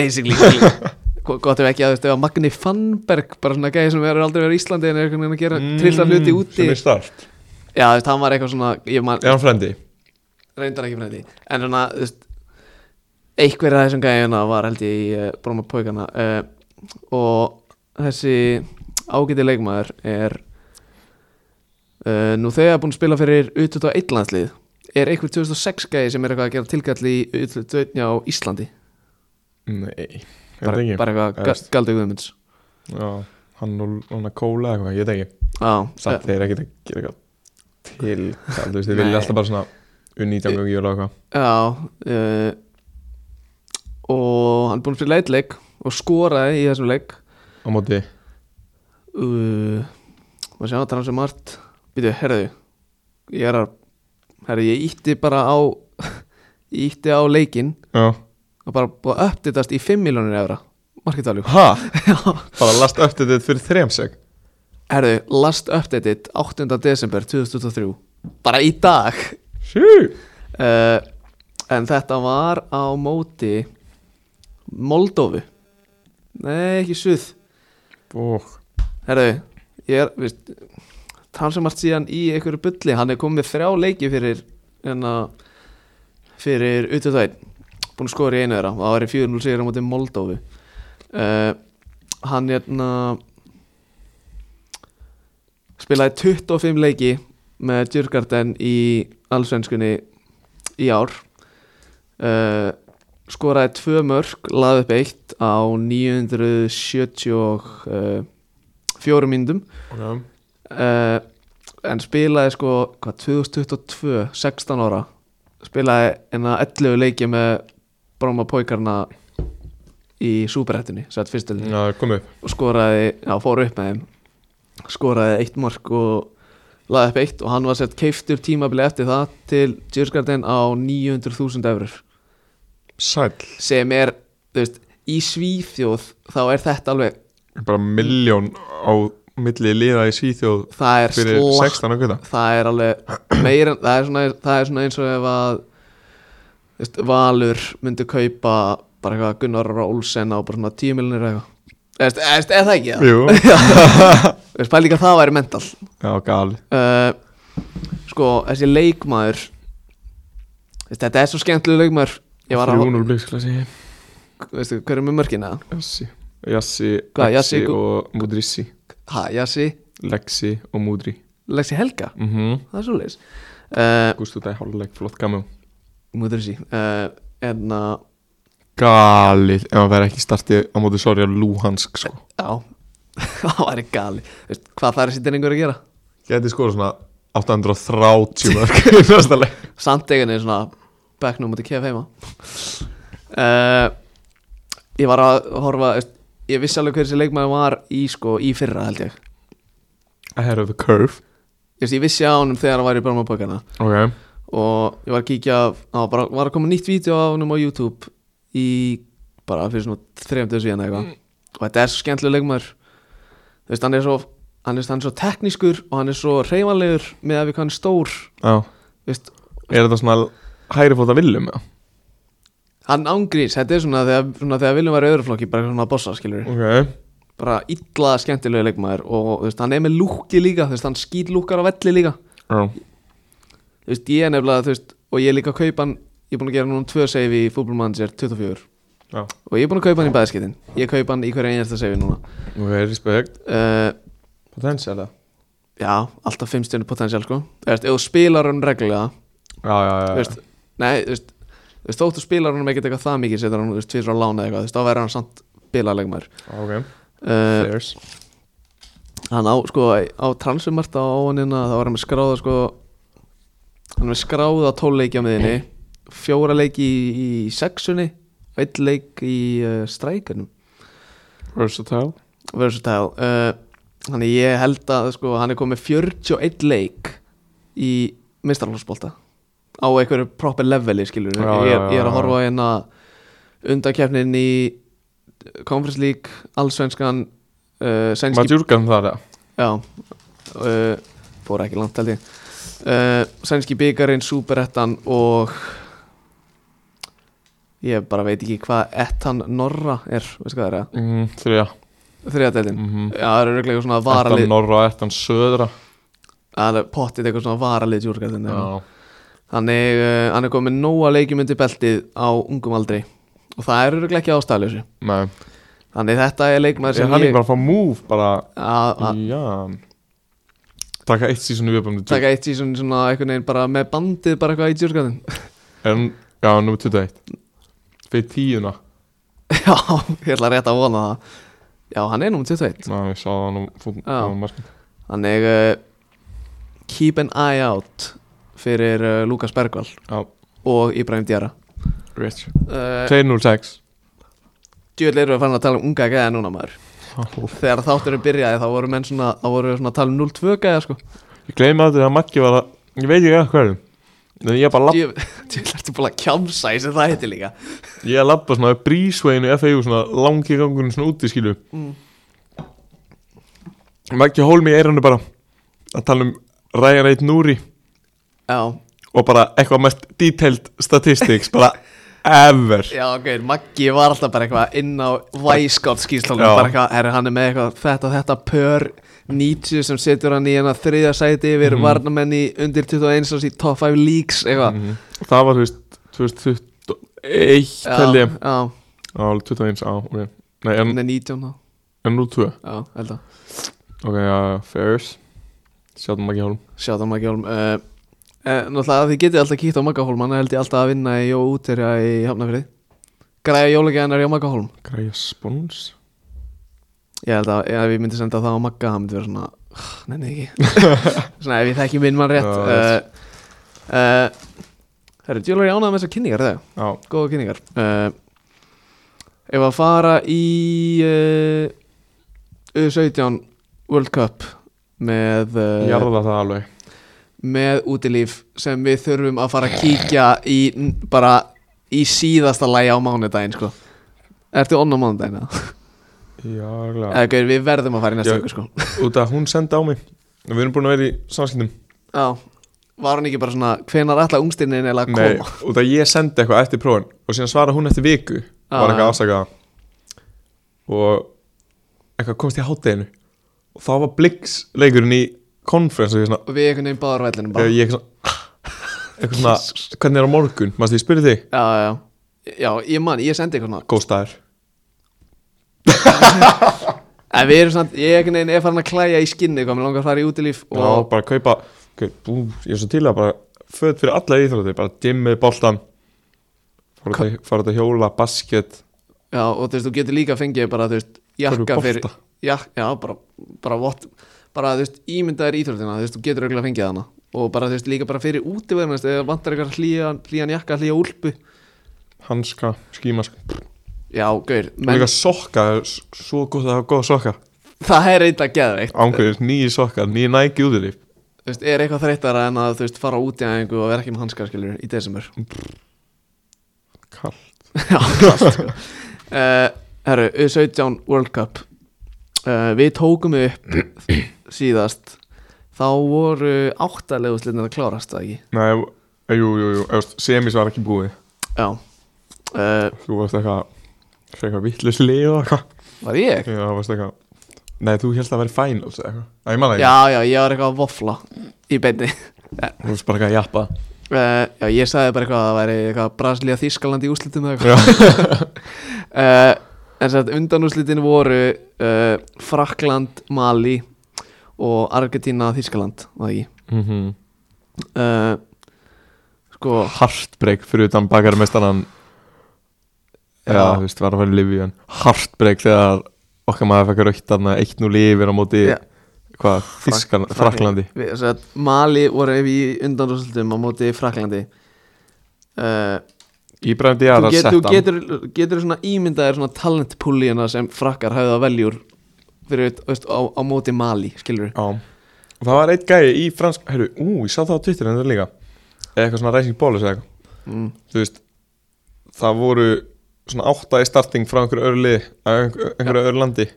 basically skilur. Go- gott ef ekki að þú veist ef að Magni Fannberg bara svona gæði sem er aldrei verið í Íslandi en er einhvern veginn að gera mm, trilla hluti úti
Sem er start
já þú veist hann var eitthvað svona ég man,
Er hann frendi?
reyndar ekki fyrir því en svona þú veist einhverja af þessum gæðina var held ég í uh, Bróma Pókana uh, og þessi ágæti leikmaður er uh, nú þegar búin að spila fyrir utvöld á landslið er einhver 2006 gæði sem er eitthvað að gera tilkalli í utvöld á Íslandi
Nei
bara,
Ég veit ekki
bara eitthvað ga-
Efst.
galdi guðmunds
Já Hann og hann að kóla eitthvað Ég veit ekki
Já, eh,
Samt þeir ekki að gera eitthvað Til Það þú veist Þið
Nei.
vilja alltaf bara svona Unnítján gangi og eitthvað
Já uh, Og hann er búinn að spila eitt leik Og skoraði í þessum leik
Á móti
uh, Má sjá, það er hans sem margt Býtu, herðu Ég er að Herðu, ég ítti bara á Ég ítti á leikin
Já
Og bara búið að uppdýtast í 5 miljónir evra Marketaljú
Ha? Bara last öftu þetta fyrir þremseg
Herðu, last updated 8. desember 2023 Bara í dag
Sjú
uh, En þetta var á móti Moldófu Nei, ekki suð
Og
Herðu, ég er veist, Transumart síðan í einhverju bulli Hann er komið með þrjá leiki fyrir hérna, Fyrir ututæð Búin að skora í einu þeirra og Það var í 4-0 sigur á móti Moldófu uh, Hann hérna Spilaði 25 leiki Með Djurgarden í Allsvenskunni í ár uh, Skoraði tvö mörg Laði upp eitt á 974 fjórum myndum
Já
uh, en spilaði sko hvað, 2022, 16 ára spilaði enna 11 leiki með Bróma Pókarna í súperhettinni sett fyrstöldinni
Já, kom upp
og skoraði, já, fór upp með þeim skoraði eitt mark og laði upp eitt og hann var sett keiftur tímabili eftir það til Djurgarden á 900.000 eurur
Sæll
sem er, þú veist, í Svíþjóð þá er þetta alveg,
Bara miljón á milli liða í Svíþjóð
það er
Fyrir
slatt
16 ákveða
það er alveg meir en, það, er svona, það er svona eins og ef að þú veist, Valur myndi kaupa bara eitthvað Gunnar Rara Olsen á bara svona 10 miljonir eitthvað Eða, þú veist, er það ekki það?
Jú
Þú veist, Pæl líka það væri mental
Já, gali
uh, Sko, þessi leikmaður þú veist, Þetta er svo skemmtileg leikmaður Ég var að,
300 bliksklassi
veistu, hver er með mörkina?
Jassi Jassi,
Hvað,
Exi
Jassi, gu-
og Mudrissi
Ha, Jassi,
Lexi og Múdri
Lexi Helga,
mm -hmm.
það er svo leis uh,
Gústu þetta í hálfleik, flott gamu
Múður sí uh, En að,
Galið, ef hann verði ekki startið á móti sorja Luhansk sko
já Það væri gali, Veist, hvað það er þessi denningur að gera?
Gæti skora svona 830 mörg í næsta leik
Samt eiginni svona Becknum mútið kef heima uh, Ég var að horfa veist, Ég vissi alveg hver þessi leikmaður var í, sko, í fyrra held ég
Ahead of the curve
Ég, veist, ég vissi á honum þegar hann var í Brámabókana
Ok
og ég var að kíkja á, á bara, var að koma nýtt vídeo af honum á YouTube í bara fyrir svona þrejum döðu síðan eða eitthvað og þetta er svo skemmtilega leikmaður þú veist hann er svo hann er, hann er svo teknískur og hann er svo reymanlegur með að við hann er stór
Já,
þú veist,
er þetta svona hægri fóta villum já?
hann ángrís, þetta er svona þegar, svona þegar viljum vera öðruflokki bara svona bossa skilur
Ok
bara illa skemmtilega leikmaður og þú veist hann er með lúki líka þú veist hann skýt lúkar á velli líka
Já,
þú veist ég er nefnilega þú veist og ég er líka að kaupa hann ég er búin að gera núna tvö save í fútbolmanager 24
já
og ég er búin að kaupa hann í bæðskiptin ég kaupa hann í hverja einasta seifi núna
Ok, respekt
uh,
Potential
já, alltaf fimmstjörnu potensial sko þú veist, ef þú spilar hann reglulega
Já, já, já
þú veist, nei, þú veist, þú veist þóttu spilar hann ekkert eitthvað það mikið setur hann, þú veist, tvisra á lána eða eitthvað þú veist, þá verður hann samt bilalegmar
Ok,
uh,
fairs
hann á, sko, á transfermarta á óanina þá var hann með skráða, sko hann var með skráða tóleiki á miðinni fjóra leiki í, í sexunni og einn leik í uh, strækarnum
Versatile
versatile uh, þannig ég held að sko, hann er komið 41 leik í mistarhóðsbólta á einhverju proper leveli skilur
Já,
ég,
já,
er- ég er
já,
að horfa á hérna undakefnin í Conference League, Allsvenskan uh, Sænski
Majurkan þar, já
já, uh, fór ekki langt held ég uh, Sænski byggarinn, Superettan og ég bara veit ekki hvað Ettan Norra er, veistu hvað það er
mm, Þrjá
þriðadeldin
mm -hmm.
Já, það eru örugglega eitthvað svona
Ettan
varalið
norra, ettan söðra
Það er pottið eitthvað svona varalið júrgarðin
Já,
Þannig uh, hann er komið nóa leikjum undir beltið á ungum aldri Og það er örugglega ekki ástæðlösi
nei
Þannig þetta er leikmaður
Er
sem
hann ekki
ég
bara Mm. að fá move bara
að að
Já Taka eitt sísonu viðbæmni
taka eitt í svona, svona einhvern veginn bara með bandið bara eitthvað í júrgarðin
En, já, nú 21 Fyrir tíuna
Já, ég ætla rétt að vona það Já, hann er númer 21
Ná, ég sá það nú fótn
Já.
á markið
Þannig uh, keep an eye out fyrir uh, Lukas Bergvall
Já.
og Ibrahim Diarra
Rich
uh,
206
Djöðlega erum við farin að tala um unga gæða núna maður þegar þátturinn byrjaði þá voru menn svona þá voru svona að tala um 0-2 gæða sko
Ég gleyma aldrei að markið var að Ég veit ekki að hverju En ég bara labba
Djú- djöfull ertu búin að kjamsa í sem það heiti líka
Ég labba svona brísveginu FAU Svona langi gangurinn svona úti skilu
Mm.
Maggi Hólmi í eiranu bara Að tala um Ryan Eitt Núri
já,
Og bara eitthvað mest detailed statistics Bara ever
já ok, Maggi var alltaf bara eitthvað inn á Væskátt skýrslónum
Já.
bara eitthvað, herri hann er með eitthvað þetta, þetta pör 90 sem setur hann í hennar þriðja sæti yfir
Mhm.
varnamenn í undir 21 árs í top 5 leagues eitthvað
Mhm. Það var, þú veist, 2021 tel
já,
ég
já,
Já, 21, já, ok Nei, en,
hann er 19 þá
en 02
já, held að,
Ok, já, Ferris Sjáðum ekki hálfum
sjáta Maggi Holm uh, Eh, náttúrulega þið getið alltaf kíkt á Magga Holm hann held ég alltaf að vinna í Jó útherja í Hafnafrið græja jólagjanar hjá Magga Holm
Græja spons
Ég held að ef ég myndi senda það á Magga það myndi vera svona, "Ugh, nenni ekki Svona ef ég þekki minn mann rétt
Já,
uh, uh, Herru, djúlar ég ánægði með þessar kynningar þegar
Já,
Góða kynningar uh, Ef að fara í uh, U17 World Cup með, uh,
uh, jarða það alveg
með útilíf sem við þurfum að fara að kíkja í n- bara í síðasta lagi á mánudaginn sko. Ertu onn á mánudaginn? eða?
Já, glæða
Eða, gaur, Við verðum að fara í næsta
Já.
viku sko.
Út af hún sendi á mig Við erum búin að vera í samskiptum
Já, var hann ekki bara svona hvenar alla ungstirnin er að
Nei,
koma
út af ég sendi eitthvað eftir prófin Og síðan svara hún eftir viku Var
já.
eitthvað afsakaða Og eitthvað komst í hátteginu Og þá var Blix leikurinn í konferens Og ég svona,
og við einhvern veginn báður vellinum bara
Ég, ég eitthvað svona Eitthvað svona Hvernig er á morgun? Mástu ég spyrir þig?
Já, já, já, ég man, ég sendi eitthvað svona
Góðstæður
En við erum samt, ég er einhvern veginn er farin að klæja í skinni hvað mér langar að fara í útilíf
Já,
og
bara kaupa Gau, bú, Ég er svo til að bara Föt fyrir alla íþrótti Bara dimmið boltan Fara út að- fara út að hjóla, basket
já, og þú veist, þú getur líka að fengið bara, þú veist, jakka
Körfubolta.
fyrir jak, Já, bara, bara vott bara, þú veist, ímyndaðir íþróttina, þú veist, þú getur auðvitað að fengið hana og bara, þú veist, líka bara fyrir útiverðinast eða vantar eitthvað hlýjan, hlýjan jakka, hlýja úlpu
Hanska, skímask
Já, gaur,
Men...
menn,
Líka sokka það er s- Svo gott að hafa góða sokka
það er eitthvað geðveikt
Ángriðis, nýji sokka, nýji næki út í líf
Þú veist, er eitthvað þreyttara en að, þú veist, fara út í aðingu og vera ekki með hanskar, skilur, í desember
Kall
Já, klart sko. uh, Herru, U17 World Cup uh, Við tókum upp síðast Þá voru áttalegu slitnir að klárast það ekki
Nei, jú, jú, jú, jú eufst, Semis var ekki búið
Já uh,
Þú varst eitthvað Svo eitthvað vittlust lið og eitthvað
Var ég?
Já, þú varst eitthvað Nei, þú helst að vera finals eða eitthvað Æ, ég man það ekki
Já, já, ég var eitthvað að vofla í beinni
Þú varst bara eitthvað að jappa
uh, Já, ég sagði bara eitthvað að það væri eitthvað Brasilia Þískaland í úslitum eða
Já.
eitthvað uh, En sett undanúslitin voru uh, Frakland, Mali og Argentina, Þískaland var það ekki
mm -hmm.
uh, sko
Heartbreak fyrir utan bakarmestaran Já,
Já.
þú veist, var að fara í Livíu en Heartbreak þegar okkar maður fækkar aukt þarna 1-0 yfir á móti
Já.
hvað, Þískan, Fraklandi
Við- sem sagt, Mali voru ef í undanrúslutum á móti Fraklandi uh,
Íbræðum
þú,
Diara
get, þú
sett hann
getur, getur svona ímyndaðir svona talentpúlíina sem frakkar hafði að veljur fyrir ut- veist, á, á móti Mali skilur
Já, og það var eitt gæi í fransk Herru, ú, ég sá það á Twitter en það líka Eða eitthvað svona Rising Ballers eða eitthvað
mm.
Þú veist, það voru svona átta í starting frá einhverju örli einhverju örlandi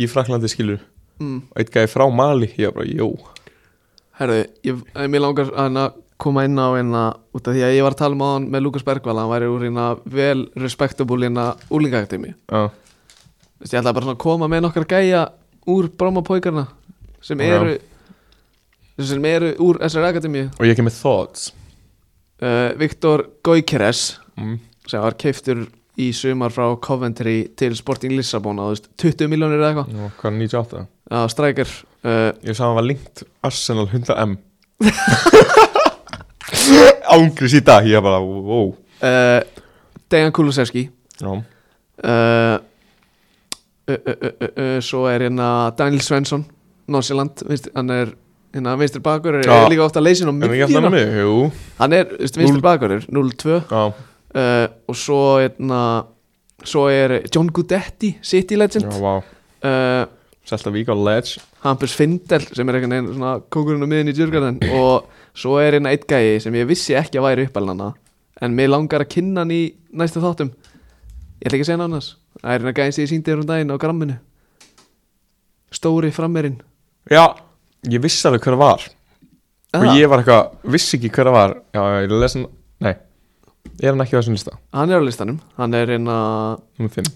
í Fraklandi skilur
Mm.
og eitt gæi frá Mali, ég var bara, jó
herðu, ég, eh, mér langar að hérna koma inn á hérna út af því að ég var að tala um á hann með Lukas Bergvala, hann væri úr hérna vel respectable hérna úlingaktimi
Já,
Þú veist, ég ætla bara svona að koma með nokkar gæja úr brámapókarna sem
Já.
eru sem eru úr SR Akademíu
og ég kem með thoughts
uh, Viktor Goikeres
mm.
sem var keiftur í sumar frá Coventry til Sporting Lissabon á þú veist, 20 miljónir eða eitthvað
Já, hvað er 98?
á strækir uh,
Ég sá að hann var linkt Arsenal 100M Ángris í dag, ég bara, wow
uh, Dejan Kulusevski
Já,
uh, uh, uh, uh, uh, uh, svo er hérna Daniel Svensson, Norsjaland hann er hérna vinstri bakur er
Já.
líka ofta að leysin á
en ekki alltaf
miðjuna
með, jú
hann er þú veist, vinstri bakur 0-2
Já,
uh, og svo hérna svo er John Gudetti City
já,
Legend
vá
uh,
Selta Vík á Ledge
Hampus Findel sem er einhvern veginn svona kókurinn á miðin í Djurgarðin og svo er hérna eitt gæi sem ég vissi ekki að væri uppalnana en mér langar að kynna hann í næstu þáttum ég ætla ekki að segja hann annars það er hérna gæi sem ég síndi þér um daginn á gramminu stóri frammerinn
Já, ég vissi alveg hver það var Og ég var eitthvað, vissi ekki hver það var Já, já, ég lesi hann, nei Er hann ekki á þessum lista?
hann er á listanum hann er hérna
Númer 5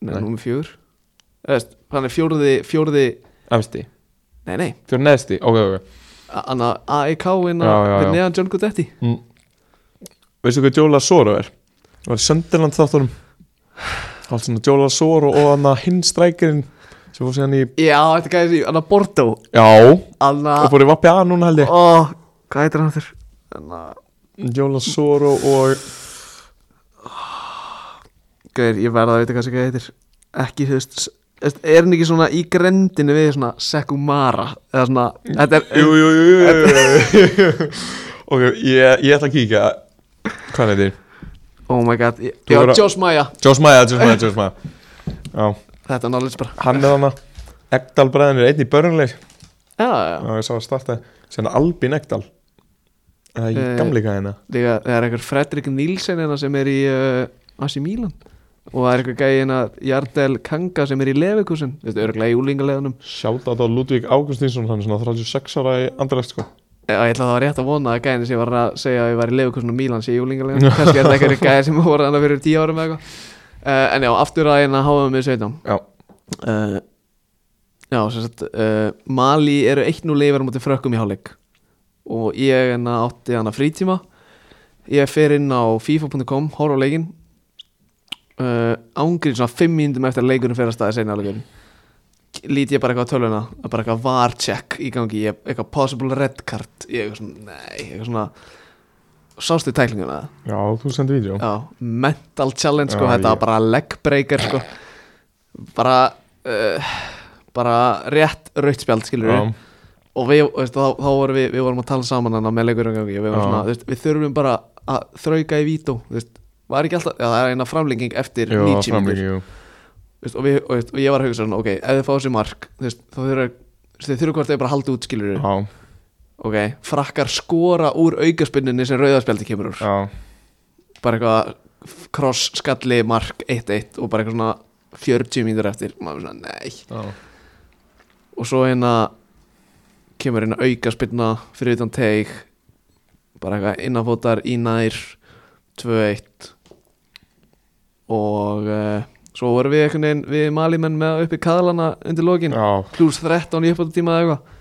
nei,
Nei.
númer fjögur Eða, veist, hann er fjóruði fjóruði
Efsti,
nei nei
fyrir neðsti, ok, ok
Anna AEK inna
Já, já, já.
fyrir neðan John Gudetti
mm. Veistu hvað Jóla Soro er? Það var Sönderland þáttunum Allt svona Jóla Soro og hann að hinn strækirinn sem fór síðan í
Já, þetta gæði því, Anna Bordeaux
Já,
Anna,
og fór í Vappi A núna held ég
ó, hvað heitir hann þurr? Anna
Jóla Soro og
Gauðir, ég verða að vita hvað sem hvað heitir Ekki, þú veist, s- veist, er hann ekki svona í grendinu við svona Sekumara Eða svona, þetta er
Jú, jú, jú, jú, jú, jú. Ok, ég, ég ætla að kíkja Hvað er þetta?
Oh my god, ég,
Þú
já,
verður að-
Josh Maya
Joss Maja, Joss Maja, Joss Maja Já,
Þetta er knowledge bara
hann er hann Egdal bræðin er einn í börnleir
Já, já, já,
Já, ég sá að starta Sen Albin Egdal Það er ekki
Eh.
gamleika hérna
líka, það er einhver Fredrik Nílsen hérna sem er í uh, Asi Milan Og það er einhver gæði hérna Jardel Kanga sem er í Leverkusen Þú veist, örglega í úlingaleðunum
Sjáta þetta á Ludvík Ágústinsson Hann er svona 36 ára í andralegt sko
Já, ég ætla að það var rétt að vona að gæðin sem ég var að segja að ég var í leifukosinu Mílan sé júlingarlega kannski er það einhverju gæði sem voru þannig fyrir tíu árum eða eitthvað uh, en já, aftur að hérna háum við 17
Já,
uh, já, sem sagt uh, Mali eru 1-0 leifar mútið frökkum í hálfleik og ég hérna átti hana frítíma ég fer inn á fifa.com, horf á leikinn uh, ángrið svona 5 mínútum eftir að leikunum fyrir að staði seinna áleikunum lít ég bara eitthvað á töluna það er bara eitthvað var check í gangi ég, eitthvað possible red card ég eitthvað svona, nei, eitthvað svona sástu tæklinguna það
Já, þú sendir vídeo
Já, mental challenge sko,
sko. Já,
þetta var
ég-
bara leg breaker sko bara uh, bara rétt rautt spjald skilur við og við, veist, þá, þá vorum við, við vorum að tala saman hana með leikurinn gangi og við, vorum
Já.
svona, þú veist, við þurfum bara að þrauka í vító þú veist, var ekki alltaf, já það er eina framlenging eftir
Jú,
90 mínútur
framlíki, jú
Þú veist, og, við, og, veist, og ég var að hugsa svona, ok, ef þið fá sér mark þú veist, þá þurfa þú veist, þið þurfa hvort þau bara að halda út skilur
Já,
ok, frakkar skora úr aukaspinninni sem rauðarspjaldi kemur úr
já,
bara eitthvað cross, skalli, mark, 1-1 og bara eitthvað svona 40 mínútur eftir maður er svona, nei
já
og svo hérna kemur hérna auka spilna fyrir utan teig bara eitthvað innanfótar í nær 2-1 og uh, svo vorum við einhvern veginn við malimenn með upp í kaðlana undir lokin
Já,
pluss 13 í uppáttíma eða eitthvað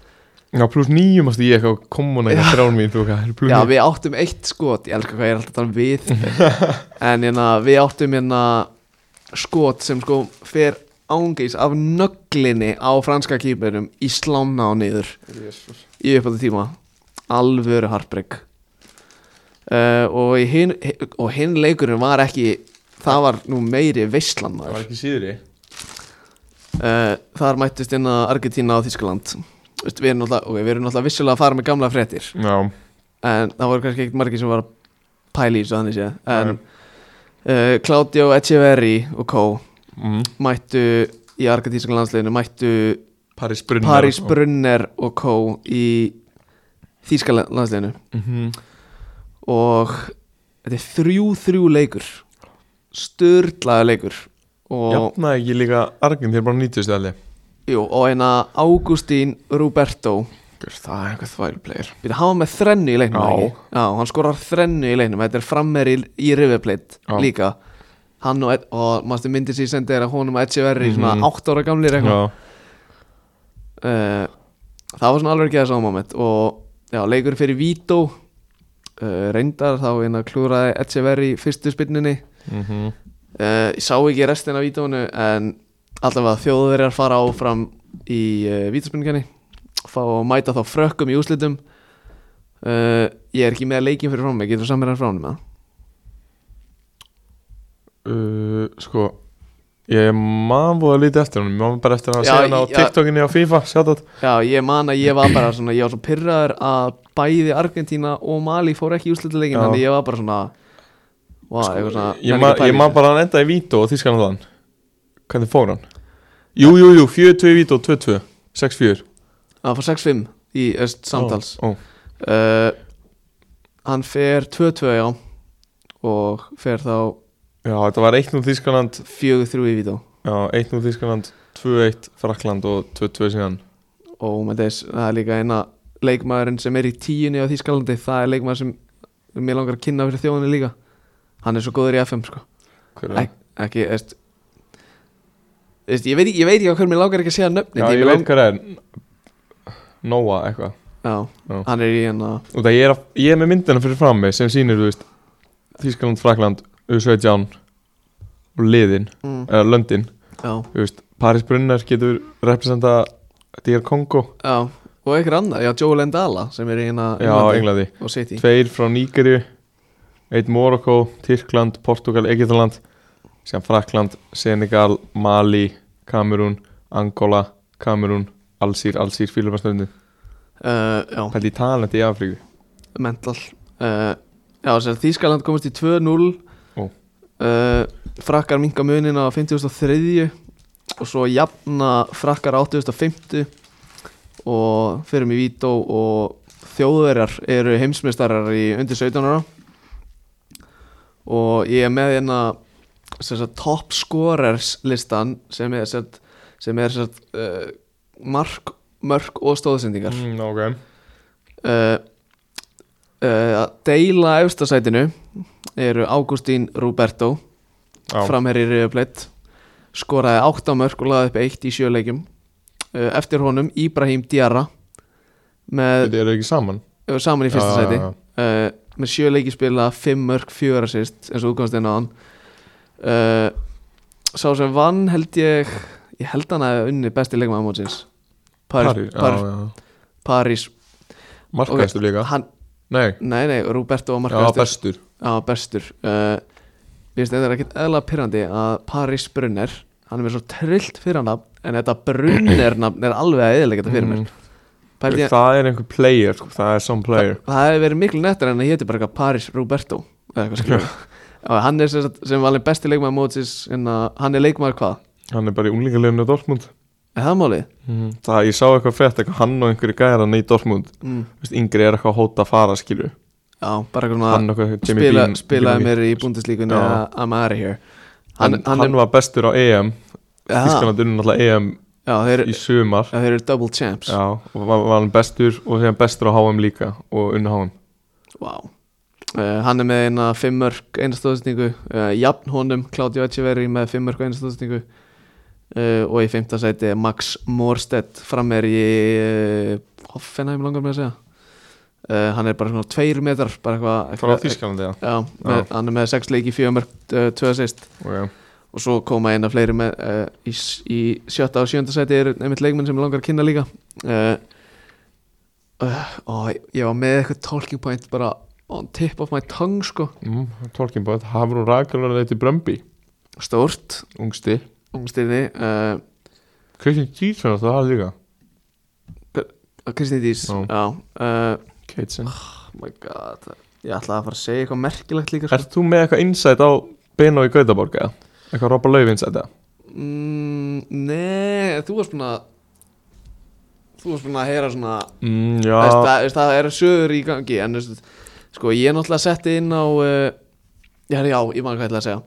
já pluss nýjum ástu ég eitthvað komun eitthvað þrán mín, þú hvað
já við áttum eitt skot ég elskar hvað ég er alltaf að tala um við en hérna við áttum hérna skot sem sko fer ángis af nöglinni á franska kýpunum í slána og niður
við
í uppáttu tíma alvöru hartbreyk uh, og í hin, og hinn leikurinn var ekki það var nú meiri veistlan
Það
maður
var ekki síðri
uh, þar mættist inn að Argentína og Þískaland Vist, við, erum náttúrulega- ok, við erum náttúrulega vissulega að fara með gamla fréttir
Já,
en það voru kannski ekkert margir sem var að pæla í þessu þannig sé en uh, Claudio Echeverri og Co
mm.
mættu í argentíska landsliðinu mættu
Paris Brunner
Paris Brunner og Co í þíska landsliðinu
Mhm.
og þetta er þrjú þrjú leikur störlaðu leikur og,
Jafnaði ekki líka arginn þegar bara 90 stæli
jú, og eina Augustín Roberto
Það er eitthvað þvælplegir
við hafa með þrennu í leiknum
Já.
ekki? Já, hann skorar þrennu í leiknum þetta er frammer í, í rifiðpleitt
Já.
líka hann og, Ed- og mástu myndir sér sendið er að honum að Echeverri mm
Mhm.
svona 8 ára gamlir eitthvað
Já,
uh, það var svona alveg ekki þessu ámoment og já, leikur fyrir Vító uh, reyndar þá hérna klúraði Echeverri fyrstu spinninni
mhm
uh, ég sá ekki restin af vítónu en allavega þjóðverjar fara áfram í uh, vítaspinninginni fá að mæta þá frökkum í úslitum uh, ég er ekki með leikin fyrir frá mig, getur samir hann frá hann með
Uh, sko ég man búið að lítið eftir honum ég man bara eftir að
Já,
segja hann á
já.
TikTokinni á FIFA sjátt
Já, ég man að ég var bara svona, ég var svo pyrraður að bæði Argentína og Mali fór ekki í úslituleikin,
Já. Sko,
þannig ég var bara svona Vá, eitthvað svona
ég,
nenni
man-
ekki að pæla
ég
í
man
þessu.
bara að hann enda í Vító og Þískan á þann hvernig fór hann? Jú, jú, jú, 4-2 í Vító, 2-2 6-4
Hann fór 6-5 í öst samtals
Ó, ó.
uh, Hann fer 2-2 já og fer þá
Já, þetta var 1-0 Þískaland
4-3 í vító
Já, 1-0 Þískaland 2-1 Frakland og 2-2 síðan
og með þess, það er líka eina leikmaðurinn sem er í tíunni á Þískalandi það er leikmaður sem mér langar að kynna fyrir þjóðinni líka hann er svo góður í FM sko
Hver er
Ek, ekki, veist veist, ég veit, ekki- ég veit ekki á hvernig mér langar ekki að segja nöfnin
Já,
því
ég
mig
veit hvað það er Nóa eitthvað
já,
Já.
hann er í hérna
Og það ég er, að- ég er með myndina fyrir fram mig sem sýnir, þú veist Þískaland, Frakland, U17 og liðin,
mm,
eða löndin
já,
Þú veist, Paris Brunner getur representa DR Kongo
já, og einhver annar, já, Joel Endala sem er í hérna
Já,
Englandi
Englandi
og City
Tveir frá Nígeri Eitt Morokko, Tyrkland, Portugal, Egyptaland Síðan Frakland, Senegal, Mali, Kamerún, Angola, Kamerún Allsýr, Allsýr, Fílumarsnöndin
uh, já,
Pælt í talandi í Afríku
mental uh, Já, þess að Þískaland komist í 2-0
Ó.
uh, Frakkar minka munin á 50.3 og svo jafna frakkar á 80.5 og fyrir mig vító og þjóðverjar eru heimsmeistarar í undir 17 ára og ég er með hérna sem sagt, top scorers listan sem er, sem, sagt- sem er sem sagt, uh, mark, mörk og stóðsendingar
mm, Ok
uh, uh, að deila efstasætinu eru Ágústín Roberto
Já,
framherri reyðuplett skoraði 8 mörg og laði upp 1 í sjöleikjum uh, eftir honum Íbrahim Diarra með,
þetta eru ekki saman
uh, saman í fyrsta
Já,
sæti Eh,
já, já.
uh, með sjöleiki spila 5 mörg 4 assist eins og útkomst inn á hann uh, Sá sem vann held ég Ég held hann að unni besti leikmaður mótsins Paris,
Par,
Paris,
já, já.
Paris,
Markaðistur líka
hann,
Nei,
Nei, nei, Roberto var
já,
markaðastur
bestur
Já, bestur uh, Ég finnst þetta er ekkert eðla pyrrandi að Paris Brunner Hann er með svo trillt fyrir hann En þetta Brunner nafn er alveg að eðilega þetta fyrir mér
Mm.
Pældi ég-
Það er einhver player, sko, það er some player
Það hefði verið miklu nettar en að héti bara eitthvað Paris Roberto eða eitthvað skilur og hann er sem, sagt- sem valin besti leikmaður mótis en að hann er leikmaður hvað?
Hann er bara í unglingaleginu á Dortmund
Er það málið?
Það, ég sá eitthvað frétt, eitthvað hann og einhverju gæra í Dortmund
Mm.
Vist, Yngri er eitthvað að hóta að fara, skilju
Já, bara eitthvað svona
Hann og eitthvað, Jimmy
spila,
Bean
spilaði
Jimmy Bean.
mér í búndislíkunni
Já.
að I'm out of here
Hann, hann, var bestur á EM
Já,
Þískanand unni náttúrulega EM
já þeir,
í sumar
Ah. já, þeir eru double champs
Já, og var, var hann bestur og þegar bestur á HM líka og unni HM
wow. uh, Hann er með eina fimmörk einastóðsningu uh, Jafn honum, Claudio Echeverri með fimmörk einastóðsningu uh, og í fimmta sæti er Max Morstedt frammer í uh, Hoffenheim langar með að segja uh, Hann er bara svona tveir metrar bara eitthvað
Frá
eitthvað-
Þískanandi, já
Já, með, hann er með sex leiki fjömörk, uh, tvö assist
okay.
og svo koma eina fleiri með, uh, í, s- í sjötta og sjönda sæti eru einmitt leikmenn sem mig langar að kynna líka uh, uh, og ég var með eitthvað talking point bara on tip of my tongue sko
mm, Tolkien bóð, Hafrún Rakel var leiti Brömbi
stórt,
Ungstir
ungstyrni uh,
Christian Keaton það var líka
Kristín Dís
Já.
já, uh,
Keitsen
oh my god ég ætlaði að fara að segja eitthvað merkilegt líka sko.
Ert þú með eitthvað insight á Beno í Gautaborg eða? Eitthvað Robba Lauf insight eða?
mm, nei, þú varst búin að þú varst búin að heyra svona
Mm,
Veist,
já,
það, veist, það eru sögur í gangi en veist, sko ég er náttúrulega setti inn á uh, já, já, ég man hvað ég ætla að segja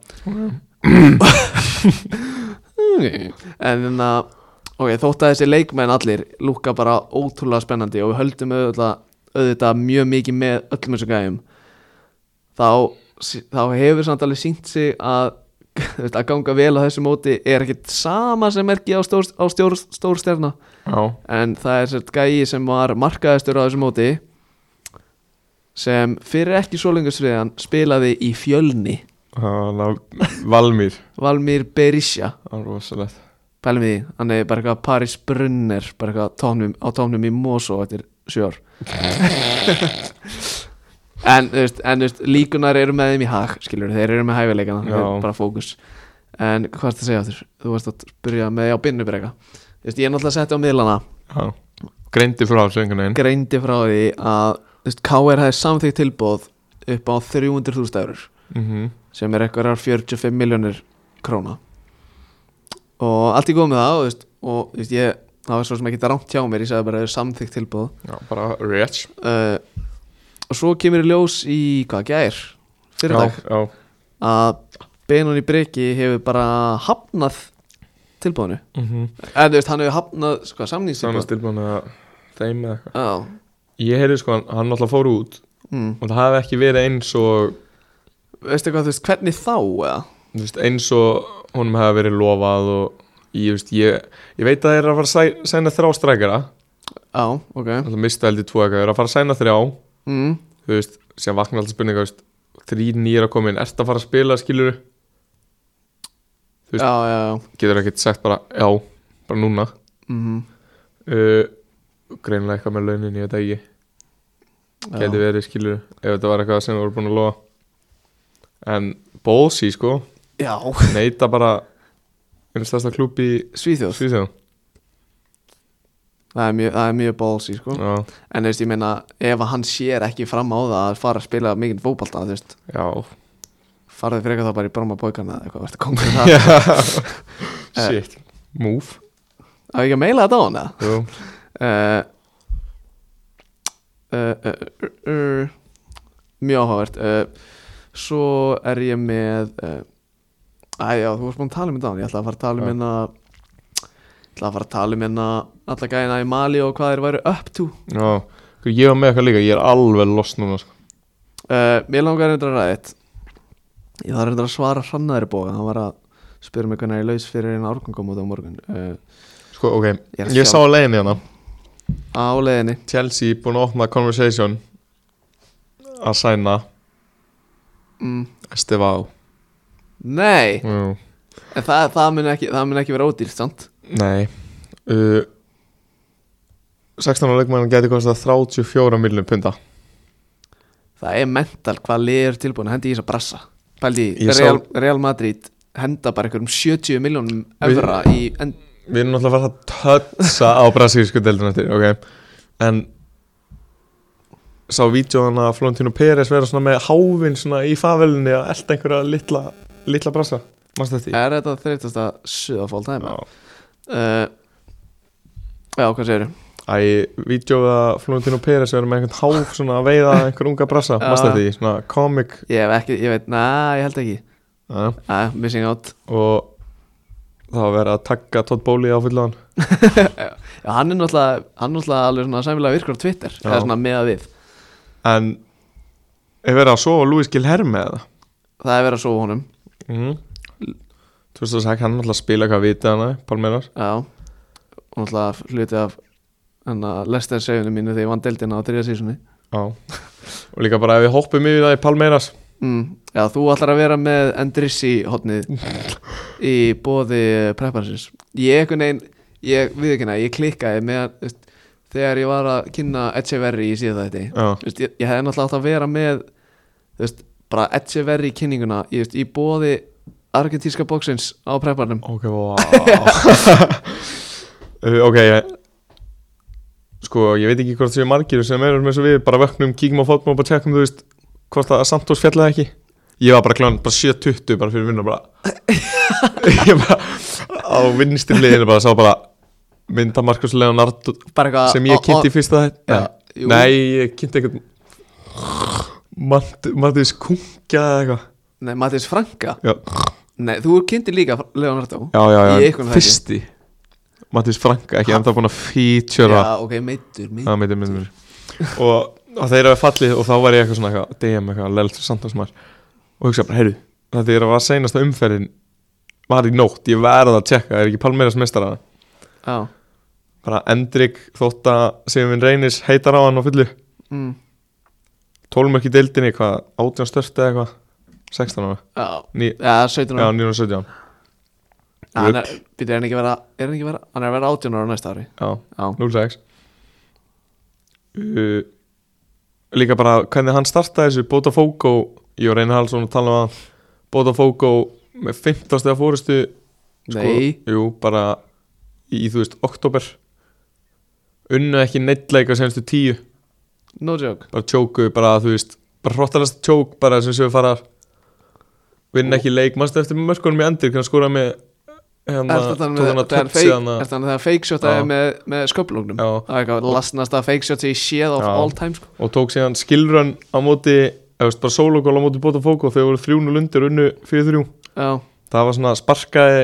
en þannig að ok, þótt að þessi leikmenn allir lúka bara ótrúlega spennandi og við höldum auðvitað, auðvitað mjög mikið með öllum þessum gæjum þá, þá hefur samt alveg sínt sig að þú veist, að ganga vel á þessu móti er ekkit sama sem merki á stór, á stór, stór stjarna
já,
en það er sért gæi sem var markaðistur á þessu móti sem fyrir ekki svo lengur sriðan spilaði í fjölni
hann á Valmýr
Valmir Berisha
Það er rosalegt
pælum í því, hann er bara eitthvað Paris Brunner bara eitthvað tónum, á tónum í Mosó eftir sjör en, þú veist, en þú veist, líkunar eru með þeim í hag skilur, þeir eru með hæfileikana þeir
Já.
eru bara fókus en hvað ertu að segja þér? þú varst að byrja með, já, Binnubrekka Þú veist, ég er náttúrulega setti á miðlana
Já, greindi frá þessu einhvern veginn
greindi frá því að þú veist, KR hefði samþýgt tilbóð upp á 300.000 eurur
Mhm.
sem er eitthvað 45 miljónir króna og allt í góð með það og, þú veist, og þú veist, ég, það var svo sem ekki rámt hjá mér ég sagði bara að það er samþýgt tilbóð
Já, bara rich
uh, og svo kemur í ljós í hvað gær fyrir dag
Já, já,
að Benoni Breki hefur bara hafnað tilbóðinu
mhm
en þú veist hann hefur hafnað sko, samningstilbóð
Sannast tilbúin að þeim eða eitthvað
Já,
Ég heyrði sko, hann, hann alltaf fór út
mm.
og það hafi ekki verið eins og
veistu hvað þú veist hvernig þá eða?
þú veist, eins og honum hefði verið lofað og ég, þú veist, ég, ég veit að þeir eru að fara að sæ, sæna þrjá strækjara
Já, ok
alltaf mista heldur tvo eitthvað, þeir eru að fara að sæna þrjá
mm.
þú veist, sem vakna alltaf spurninga þú veist, þrýr nýjir að koma inn, ert að fara að spila skilur, Þú veist-
Já, já, já
getur ekkert sagt bara já, bara núna Mhm.
mm
uh, greinlega eitthvað með launin, ég veit það ekki getur verið skilur, ef þetta var eitthvað sem voru búin að lofa en Bósi sko,
Já,
neita bara einu stærsta klúb í
Svíþjóð
Svíðsjón
Það er mjög, það er mjög ballsy sko
já,
En þú veist, ég meina, ef að hann sér ekki fram á það að fara að spila mikinn fótbalta Þú veist,
já
farðu frekar þá bara í bráma bókana eða eitthvað, verður kongur það
Já. Shit, move
Það er ekki að meila þetta á hana
Jú.
uh, uh, uh, uh, uh, Mjög áhugavert uh, Svo er ég með uh, Æ, já, þú varst búin að tala um þetta áðan. Ég ætla að fara að tala um
Já.
hérna Ég ætla að fara að tala um hérna Alla gæna í Mali og hvað þeir væru up to
Já, sko, ég var með eitthvað líka, ég er alveg lost núna sko.
Uh, mér langar reyndar að ræða eitt Ég þarf reyndar að svara hrannaðri bóka Hann var að spyrja mig hvernig ég laus fyrir einu árgangum út á morgun uh,
sko, ok,
Ég er
ég,
að sjá-
sá að leiðin hérna
Á leiðinni
Chelsea búin að opna conversation að sæna
mm,
Estevao
Nei,
Jú.
en það, það mun ekki, það mun ekki vera ódýrt, sant?
Nei uh, 16 ára leikmann gæti kostað 34 miljonum punta
Það er mental hvað lið er tilbúin að henda í þess að brassa Pældi, í,
Ég sá-
Real, Real Madrid henda bara einhverjum 70 miljónum
Við-
evra í end...
Við erum náttúrulega að fara að tötsa á brasilísku deildin eftir ok? En sá vídjóðan að Florentino Pérez vera svona með háfinn svona í favelinni að elda einhverja litla, litla brasa Manstu þetta?
Er þetta þreytast að suða full time?
Já.
Uh, já, hvað segirðu?
Æ, vídjóða Florentino Pérez vera með einhvern háf svona að veiða einhver unga brasa
Já.
Manstu þetta? í? Svona komik
Ég hef ekki, ég veit, næ, ég held ekki
ja.
Æ, missing out
og það var verið að taka Todd Bóli á fullan
Já, hann er náttúrulega, hann er náttúrulega alveg svona sæmilega virkur á Twitter
Já.
Það er svona með að við
En er verið að sofa Luis Gilherme eða?
Það er verið að sofa honum
Mm. 2006 hann náttúrulega spila hvað vitið hana Palmeiras
Já Og náttúrulega hluti af hérna, Þannig að lesta segjunum mínu þegar ég vann deildina á þriða sísunni
Já Og líka bara ef við hoppum yfir það í Palmeiras
mm, Já, þú ætlar að vera með Endrissi hotnið Í bóði preparansins Ég einhvern veginn, ég við ekki ég klikkaði með þú veist, Þegar ég var að kynna Echeverri í síða þetta
Já,
Þú veist, ég, ég hefði náttúrulega átt að vera með þú veist, bara Echeverri kynninguna ég, veist, í bóði argentíska bóksins á prepparnum
ok, wow Uh, Ok, ég Sko, ég veit ekki hvort séu margir sem erum eins og við bara vöknum, kíkjum á fótmál og bara tjekkum, þú veist, hvort að Santos fjallaði ekki Ég var bara kláðan, bara 7.20 bara fyrir vinna, bara Ég bara, á vinnstri liðinu bara, sá bara mynda Markus Leonardo
bara eitthvað
sem ég
á-
kynnti í
á-
fyrsta þetta
Ah, Já, jú.
Nei, ég kynnti eitthvað Mattis Kunga eða eitthvað
Nei, Mathis Franka
Já,
Nei, þú kynnti líka Leonardo
já, já,
Í
já.
einhvern þætti.
Fyrsti Mattis Franka, ekki enda búin að feature
Já, ok, meittur, meittur
Það meitir minn mér Og, og þeir eru fallið og þá var ég eitthvað svona eitthvað DM eitthvað, lelt samtalsmaður Og hugsa bara, heyrðu, þetta er að var seinasta umferðin Var í nótt, ég verða að tjekka Það er ekki Palmeiras mestara
Já,
Bara Endrik, þótt að Sigurvin Reynis heitar á hann á fullu
mm,
tólmörk í deildinni, hvað, 18 störti eða eitthvað 16 ára,
já,
Ní,
já 17
já,
ára
19 og 17
Já, hann er, býtu, er hann ekki að vera, er hann ekki að vera Hann er að vera 18 ára næsta ári
já,
Já,
06 uh, líka bara hvernig hann startaði þessu Botafogo, ég var reyna halsson að tala um hann, Botafogo með 15 stegar fórustu
nei
jú, bara í, þú veist, oktober unnu ekki neittleika senstu tíu
No joke
bara tjóku, bara þú veist bara hróttalast tjók, bara sem séu fara vinna ekki leik, mannstu eftir mörkunum í endur, hvernig skóra með
Er
hérna,
þetta
tók hann að töpsi hann að
þannig að fake shot
Já.
með, með sköplungnum?
Já.
Það er eitthvað lasnasta fake shot sem ég séð of
Já.
all time sko.
og tók síðan skilrun á móti, eða veist, bara sólugól á móti Botafogo, þau voru 3-0 undir og unnu 4-3,
Já,
það var svona sparkaði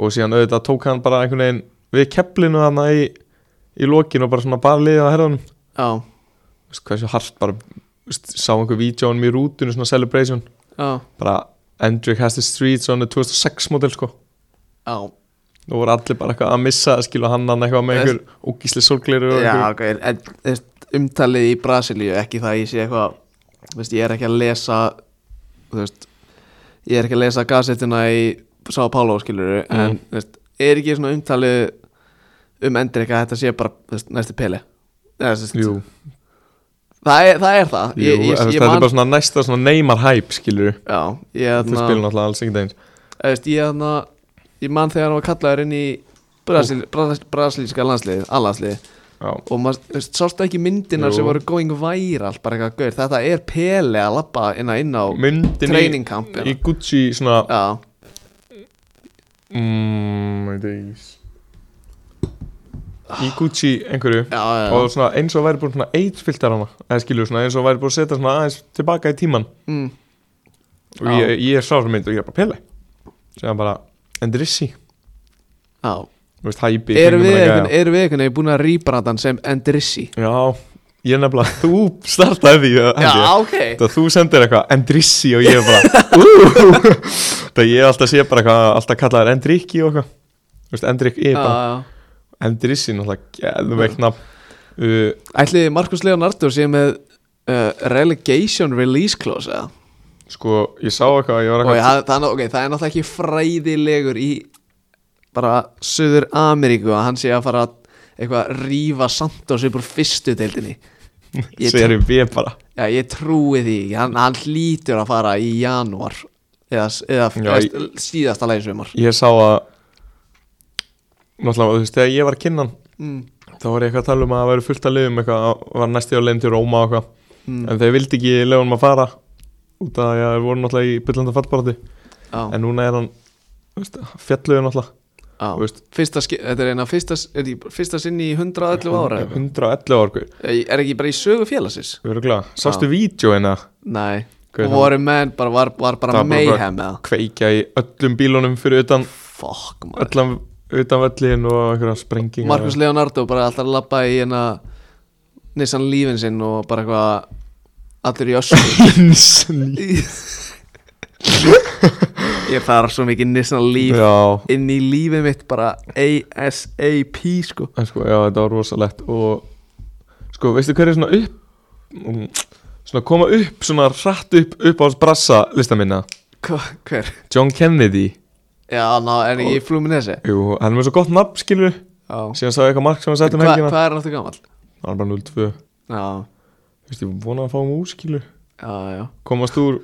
og síðan auðvitað tók hann bara einhvern veginn við kepplinu hann í, í lokin og bara svona bara liðið á herðunum,
já,
Þú veist, hversu hart bara, þú veist, sá einhver vídjónum í rútunum, svona celebration
já,
bara Andrew has the streets on the 2006 model sko
já
nú voru allir bara eitthvað að missa skilja hann hann eitthvað með einhver ógísli sorgleiru og
Já,
einhver
ok, en þú veist, umtalið í Brasilíu ekki það að ég sé eitthvað þú veist, ég er ekki að lesa þú veist, ég er ekki að lesa gazetuna í Sá Pálo skilur
Mm.
en þú veist, er ekki svona umtalið um endri eitthvað að þetta sé bara þú veist, næstu peli Eða, þú veist,
jú,
það, er, það er það
jú, ég, þetta er bara svona næsta svona neymar hæp skilju
Já, ég
þau
þarna
spilum náttúrulega alls ekkert eins
Þú veist, ég hann ég man þegar hann var kallaður inn í Brasil, Brasil, brasilíska landsliðið, allansliðið
já,
og maður, þú veist, sástu ekki myndinar
Jú.
sem voru going viral, bara eitthvað gaur þetta er peli að labba inn að inn á
myndin
Training camp,
í,
já.
í Gucci svona
já,
mm, veit ekki. í Gucci einhverju
Ah. já, já, já.
og svona eins og væri búin svona eitfiltar hana eða skilju svona eins og væri búin að setja svona aðeins tilbaka í tíman
Mm,
og ég, ég sá þessa mynd og ég er bara pele sem hann bara, en drissi
já.
Þú veist, hæpi í
erum
kringum
við
hana
einhvern
gæja.
erum við einhvern veginn búin að rýbranda hann sem Endrissi
Já, ég nefnilega, þú startaði því held
já,
ég.
ok,
Það þú sendir eitthvað, Endrissi og ég bara uh, Það ég alltaf sé bara eitthvað, alltaf kallaður Endrikki og eitthvað Þú veist, Endrik ég
já,
bara,
já
Endrissi náttúrulega geðveikt nafn uh,
ætliði Markus Leonardo sé með uh, relegation release clause eða
Sko, ég sá eitthvað, ég var
Og
eitthvað
það, það, er ná- ok, það er náttúrulega ekki fræðilegur í bara Suður Ameríku að hann sé að fara að eitthvað að rífa Santos upp úr fyrstu deildinni ég,
Sér í B bara
já, ég trúi því, ekki. hann, hann hlýtur að fara í janúar eða, eða,
Já,
eða st- síðasta leiðsumar
Ég sá að Náttúrulega, þú veist, þegar ég var að kynna hann
mm.
Þá var ég eitthvað að tala um að það væri fullt að liðum eitthvað að Var næsti á leiðum til Róma og eitthvað
Mm.
En þeir vildi ekki leiðum að fara Út af að ég voru náttúrulega í byllanda fallbarati
Já,
En núna er hann þú veist, Fjalluðu náttúrulega
já.
þú veist.
Fyrsta, ski- þetta er eina fyrsta, er ekki fyrsta sinni í 111 ára eða eitthvað?
111 ár, guð
er ekki bara í sögu félagsins
Öruglega, sástu vídjóina
nei,
Hver
og
það?
voru menn bara var, var bara
Það var bara-
mayhem eða
Kveikja í öllum bílunum fyrir utan
fuck maður
Öllan utan völlin og einhverja sprengingar
Markus Leonardo bara alltaf að labba í hérna Nissan lífin sinn og bara eitthvað allir í össu
Leifins
ég þarf svo mikið Nissan líf
Já,
inn í lífið mitt bara ASAP sko
en sko, já, þetta var rosalegt og sko, veistu hver er svona upp mm, svona koma upp, svona hratt upp upp á brassa lista minna
Hva, hver?
John Kennedy,
já, ná, en ég flúmin þessi
jú, hann er með svo gott nafn skilur,
hvað
síðan sagði eitthvað mark sem hann sætti um
hva
helgina,
hvað er náttúrulega gammal?
hann er bara 0-2
já,
veistu, ég vona að fá hann úr skilur
já, já
komast úr,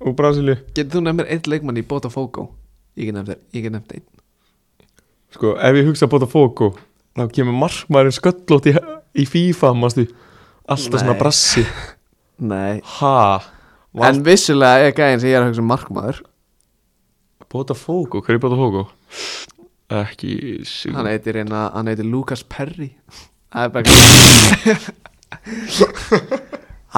úr Brasilíu
getur þú nefnir einn leikmann í Botafogo? ég get nefnt þér, ég get nefnt einn
sko, ef ég hugsa að bóta fóku þá kemur markmaðurinn sköllótt í, í FIFA, mástu alltaf svona
Nei.
brassi,
nei
ha
En vissulega er gæðin sem ég er að hugsa um markmaður
Botafogo, hver er Botafogo? Ekki sig-
Hann heitir, einna, hann heitir Lucas Perry Það er bara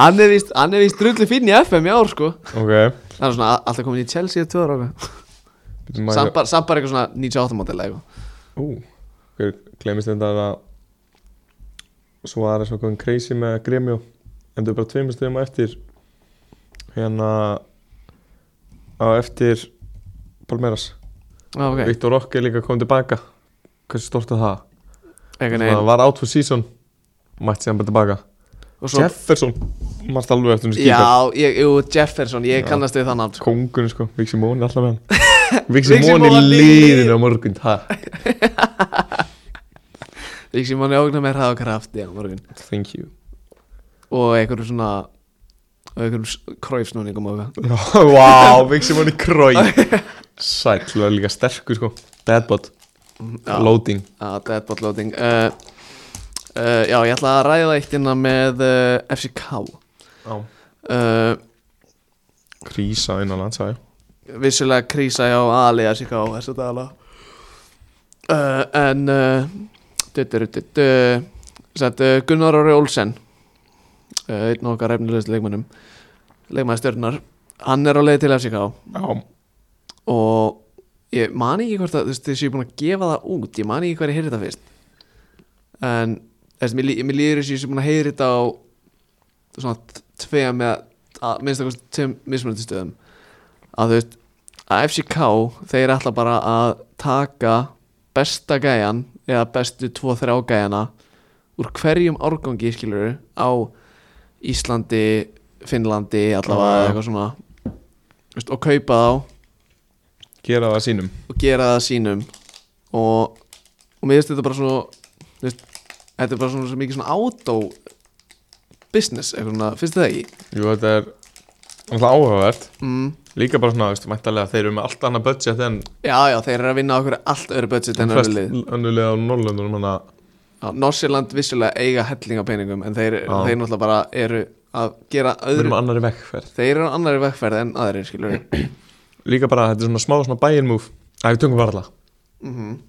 Hann er víst, hann er víst drullu fín í FM í ár sko
Ok
Hann er svona a- alltaf komin í Chelsea í tvö ára eitthvað.
Býtum
Samt
maður
bara samt bara eitthvað svona 98 mótil eitthvað
Ú Hver glemist þetta að Svo var þess okkur crazy með Gremjó En þau bara tveimur stöðum á eftir Hérna Á eftir Palmeiras
Já, ok
Viktor Rock er líka komið tilbaka Hversu stort er það?
Eitthvað
Það
neginn
var out for season Mætti séðan bara tilbaka
Og svo
Jefferson Mætti alveg eftir hún skýta
Já, ég, jú, Jefferson, ég kannast við þann aftur
Kóngun sko Vixi Móni alltaf með hann
Vixi
Vixi Móni
Móni
liðin á morgun Það
Ég sem hann er ógna með hraðakraft Já, morgun
Thank you
Og einhverjum svona Og einhverjum kræfsnúningum og eitthvað
Vá, Vixi Móni Krói Sæll, það er líka sterkur sko Deadbot,
Já.
loading
Já, deadbot loading uh, uh, Já, ég ætla að ræða eitt innan með uh, FCK
Já.
uh,
Krísa innan landsæði
Vissulega krísa hjá Ali FCK þessu dagala uh, En uh, duttur, duttur, sett, uh, Gunnar Ári Olsen uh, einn okkar efnilegst leikmannum leikmann stjörnar hann er á leið til FCK
Já,
og ég man ekki hvort að þú veist, þessi ég er búin að gefa það út ég man ekki hvað ég heyri þetta fyrst en þessi, mér, lí- mér líður þessi ég er búin að heyri þetta á svona tveja með að minnst að kosti tveim mismunandi stöðum að þú veist að FCK þeir ætla bara að taka besta gæjan eða bestu 2-3 gæjana úr hverjum árgangi skilur á Íslandi Finnlandi allavega
Já, já.
eitthvað svona þú veist, og kaupa þá
gera það sínum
og gera það sínum og, og mér finnst þetta bara svona þú veist, þetta er bara svona svo mikið svona auto business, eitthvað svona, finnst þið það ekki?
Jú, þetta er alltaf áhugavert
Mm.
Líka bara svona, veistu, mæntalega þeir eru með allt annað budget en
Já, já, þeir eru að vinna á okkur allt öðru budget en öðru lið
önnulega á Norrlöndunum Þannig að,
Norsjöland vissulega eiga helling á peningum en þeir,
Já.
þeir náttúrulega bara eru að gera
við
öðru
erum á annari vekkferð
Þeir eru á annari vegferð en aðrir, skilur við
Líka bara, þetta er svona smá svona buy-in move Æ, við tökum varla
mm
Mm-hmm.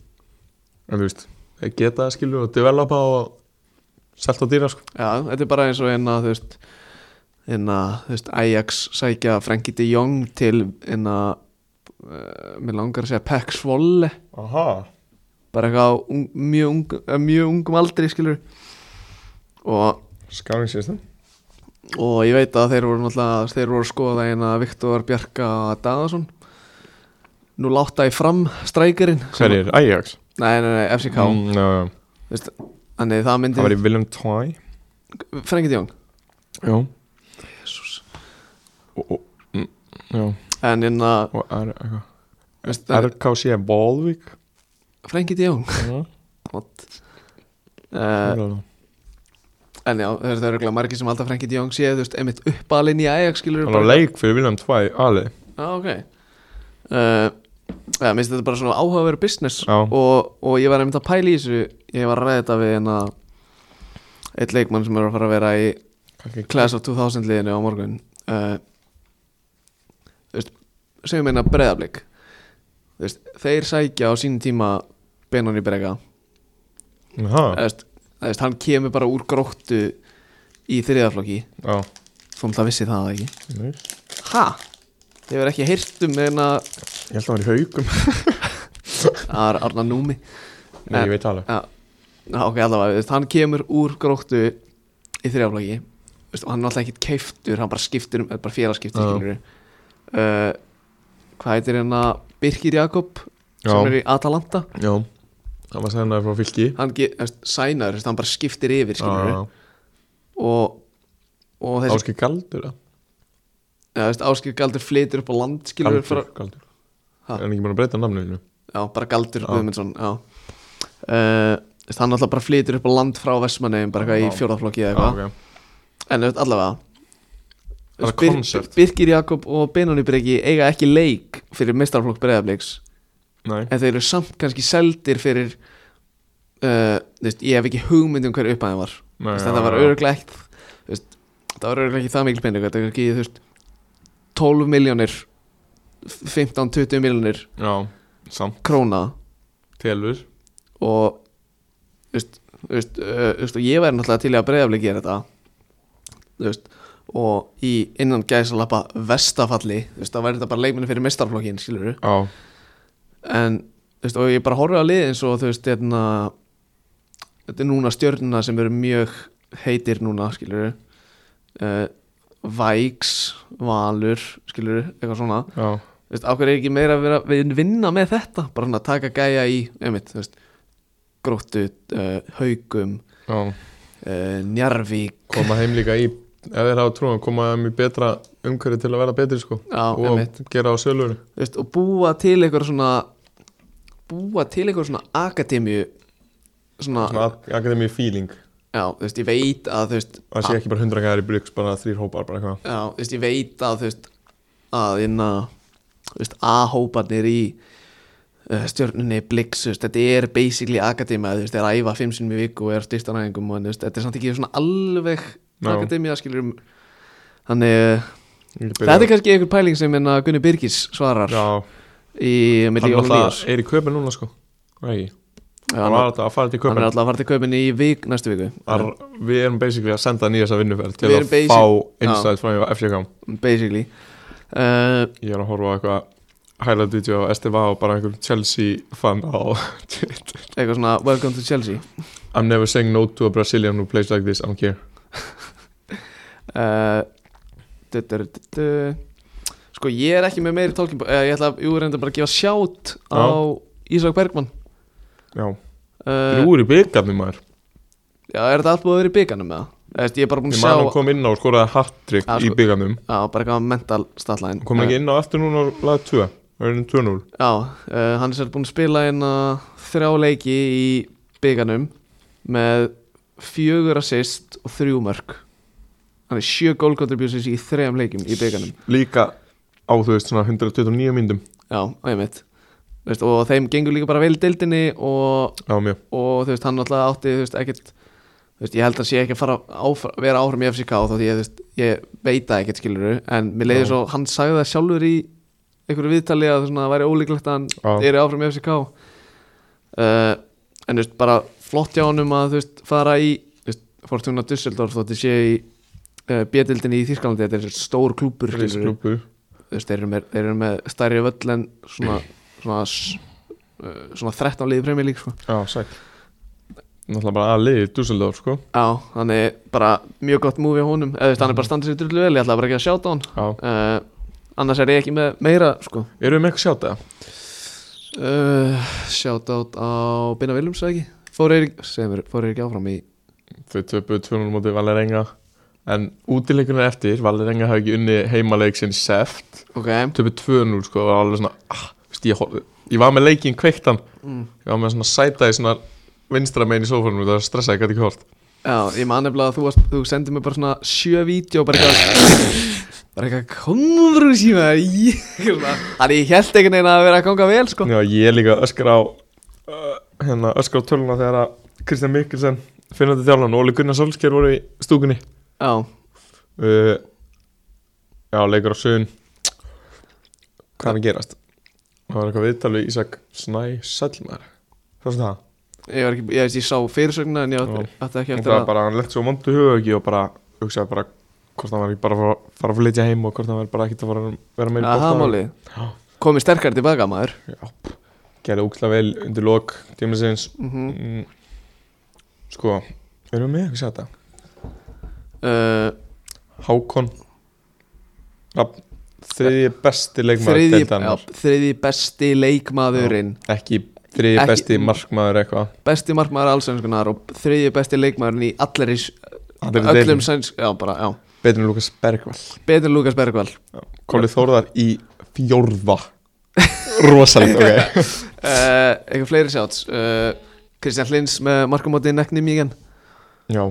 En þú veist, þeir geta það skilur og developa og Selt á dýra sko
Já, þetta er bara eins og einna, þú veist einna, þú veist, Ajax sækja Frenkie de Jong til einna, uh, mér langar að segja Pek Svolle
Aha
bara eitthvað á ung, mjög, ung, eh, mjög ungum aldri skilur og,
Skáðingsýstum
og ég veit að þeir voru náttúrulega þeir voru að skoða eina Viktor Bjarka Daðason nú láta ég fram strækirinn
Hverjir? Ajax?
Nei, nei, nei, FCK mm.
Mm, já, já.
veist, Þannig það myndi
Það var í Willem Twy
Frenkie de Jong
Já
Jesus.
og, og, mm, já,
en hérna
og er, eitthvað.
veist, en-
RKC Bólvík
Frenkie de Jong
Já, Mm.
uh,
Mhm. alveg.
en já, það eru örugglega margir sem halda að Frenkie de Jong sé, þú veist, einmitt uppalinn í Ajax skilur
hann á leik fyrir William 2 Ali,
já, ok uh, ja, minnst þetta bara svona áhugaveru business
já,
og, og ég var einmitt að pæla í þessu ég var að ræða þetta við hérna eitt leikmann sem er að fara að vera í
kannski
Class of 2000 liðinu á morgun uh, þú veist, segjum einna breðablík veist, þeir sækja á sínum tíma Benoni Brega Þú
já,
veist, þú veist, hann kemur bara úr gróttu í þriðaflokki
já,
þú náttúrulega vissi það ekki
Nei.
ha, ég verð ekki heyrt um en að
ég held að hann var í haugum
það er Arna Númi
Nei, ég veit alveg
Já, ok, allavega, þú veist, hann kemur úr gróttu í þriðaflagi veist, og hann er alltaf ekkit keiftur hann bara skiptir, um- bara félagskiptir
Já.
uh. uh, hvað heitir hérna Birkir Jakob sem
Já.
er í Atalanta
Já, hann var sænaði frá fylki
hann ge- þú veist, sænar, þú veist, hann bara skiptir yfir skilur
Já,
og, og þessi
Áskir Galdur eða?
ja, þú veist, Áskir Galdur flytur upp á land skilur
Galdur,
frá,
Galdur
Ha?
Er hann ekki búin að breyta namninu?
já, bara Galdur
Já.
Guðmundsson já uh, þú veist, hann alltaf bara flytur upp á land frá Vestmanneum bara eitthvað
Já.
í fjórðaflokki eða
Já,
eitthvað
ok.
En auðvitað allavega
Það er
Bir-
concept.
Birkir Jakob og Benóni Breki eiga ekki leik fyrir mestarflokk breyðafleiks
Nei,
en þeir eru samt kannski seldir fyrir uh, þú veist, ég hef ekki hugmynd um hver uppæðin var
nei
Þú veist,
já,
þetta var
já, já.
öruglega ekki þú veist, þetta var öruglega ekki það mikil pening þetta er ekki þú veist 12 miljónir 15-20 miljónir
Já, samt
króna
Telur
og þú veist, þú veist, uh, þú veist, og ég væri náttúrulega til í að breyðafli gera þetta þú veist, og í innan gæsalappa vestafalli þú veist, þá væri þetta bara leikminni fyrir mistarflokkin skilur
Já,
en þú veist, og ég bara horfði á liðin svo þú veist hérna, þetta er núna stjörnuna sem eru mjög heitir núna skilur uh, Vægs, Valur skilur, eitthvað svona
já,
Þú veist, ákveður er ekki meira að vera, við vinna með þetta bara svona taka gæja í einmitt, þú veist, gróttu, uh, haugum
já
uh, njarvík
Koma heim líka í Ef þeir hafa trúan, koma heim í betra umhverfi til að vera betri sko
á,
Og
einmitt,
gera á sölur
þú veist, og búa til einhver svona búa til einhver svona akademíu svona,
Svona akademi feeling
já, þú veist, ég veit að þú veist,
Það sé ekki bara hundra gæðar í byggs, bara þrýr hópar bara eitthvað
já, þú veist, ég veit að þú veist, að inna þú veist, A-hóparnir í uh, stjörnunni Blix, þú veist, þetta er basically akademia, þú veist, það er að æfa fimm sinni í viku og er styrstanæðingum og þú veist, þetta er samt ekki svona alveg
Já.
akademia, skilur um þannig, eh,
Ég get
þetta
byrjað-
er kannski einhver pæling sem enna Gunni Birgis svarar
Já,
í
hann
milli og
alltaf
hlýðars
er í köpun núna sko Nei, hann var
hann
alltaf að fara
hann
til
er
köpun
alltaf að fara til kaupinni í vik næstu viku
Ar, við erum basically að senda hann í þessa vinnuferð til
Við
að
erum basic-
fá insight frá FCK
basically uh,
ég er að horfa á eitthvað highlight video á STV og bara einhver Chelsea fan á Twitter.
eitthvað svona welcome to Chelsea
I'm never saying no to a Brazilian who plays like this, I don't care
uh, du, du, du, du. sko ég er ekki með meiri tólkin uh, ég ætla að, jú, reynda bara að gefa sjátt á Ísak Bergmann
já,
uh,
þrjúur í byggarni maður
já, er þetta allt búið að vera í bygganum með það ég er bara búin
ég
að
man hann
sjá
kom inn á og skoraði hat-trick
Já,
í
sko. Eh.
byggarnum
já, bara eitthvað mental statline
kom hann ekki inn á eftir núna og laði 2 það er enn 2-0
já, uh, hann er sér búin að spila inn að þrjá leiki í bygganum með fjögur assist og þrjú mörg hann er sjö goal contributions í þrejum leikim í bygganum
líka á þú veist svona 129 myndum
Já, einmitt veist, og þeim gengur líka bara vel í deildinni og,
já, mjög
og þú veist, hann alltaf átti þú veist, ekkert, þú veist, ég held að sé ekki að fara áfra, vera áfram í FCK þá því ég, þú veist, ég veit það ekkert skiluru en mér leiði
Já.
svo, hann sagði það sjálfur í einhverju viðtali að svona, það væri ólíklegt að hann
já,
eru áfram í FCK uh, Eh, en þú veist, bara flott hjá honum að þú veist, fara í þú veist, Fortuna Düsseldorf þótti sé í uh, B-dildinni í Þýrskalandi þetta er þessi stór klúpur skilurðu
risklúpu
þú veist, þeir eru með, þeir eru með stærri völl en svona svona, s- uh, svona 13 liði premjör lík sko.
já, sæk náttúrulega bara aðliði Dusseldorf sko
á, hann er bara mjög gott múfi á honum eða þú veist, hann er
Mhm.
bara standið sér drullu vel ég ætla bara ekki að sjáta hann
já,
uh, annars er ég ekki með meira sko.
eru við með eitthvað sjátt eða?
uh, sjáta á Binna Viljums eða ekki fór Eirík, segir mér, fór Eirík áfram í
þau töpuðu 2-0 mótið Valerenga en útileikunar eftir Valur Enga hafði ekki unni heimaleik sinn seft,
Ok
töpu 2-0 sko, og var alveg svona, ah, veist, ég, hol- ég var með leikinn kveiktan,
mm.
ég var með svona sæta í svona vinstra megin í sófanum það stressaði gæti ekki hort
Já, ég man nefnilega að þú, varst, þú sendir mér bara svona sjö vídeo bara eitthvað bara eitthvað komður úr síma ég- svona. Þannig ég held einhvern veginn að vera að ganga vel sko
Já, ég er líka að öskra á uh, hérna, öskra á töluna þegar að Kristján Mikkelsen, finnandi þjálfan og Óli Gunnar Solskjær voru í stúkunni
Já,
uh, Já, leikur á sögun Hvað er að gerast? Það var eitthvað viðtal við Ísak Snæ Sællmar Hvað sem það?
ég var ekki, ég veist ég sá fyrirsögna en ég átti, átti ekki
Og
eftir
það
að
bara, hann lett svo mondu hugauki og bara hugsaði bara hvort hann var ekki bara að fara- fara að flytja heim og hvort hann var bara ekkert að fara vera meira
Já, það máli
Já.
Komið sterkar tilbaka maður
Gerði úkslega vel undir lok tímasins
mm
mm. Sko, erum við með eitthvað sæta?
uh,
Hákon Rafn, þriðji besti leikmaður
Þriðji, já,
deildarinnar.
þriðji besti leikmaðurinn
Ekki þriðji
Ekki-
besti markmaður eitthvað
Besti markmaður allsvenskunar og þriðji besti leikmaðurinn í allir í
Allri
öllum
deildinni.
sænsk Já, bara, já
Betur en Lukas Bergvall
Betur Lukas Bergvall
Kóli Þórðar í fjórða Rosalega, ok
uh, Eitthvað fleiri sjátt uh, Kristján Hlins með markamóti nekni mjög
Já,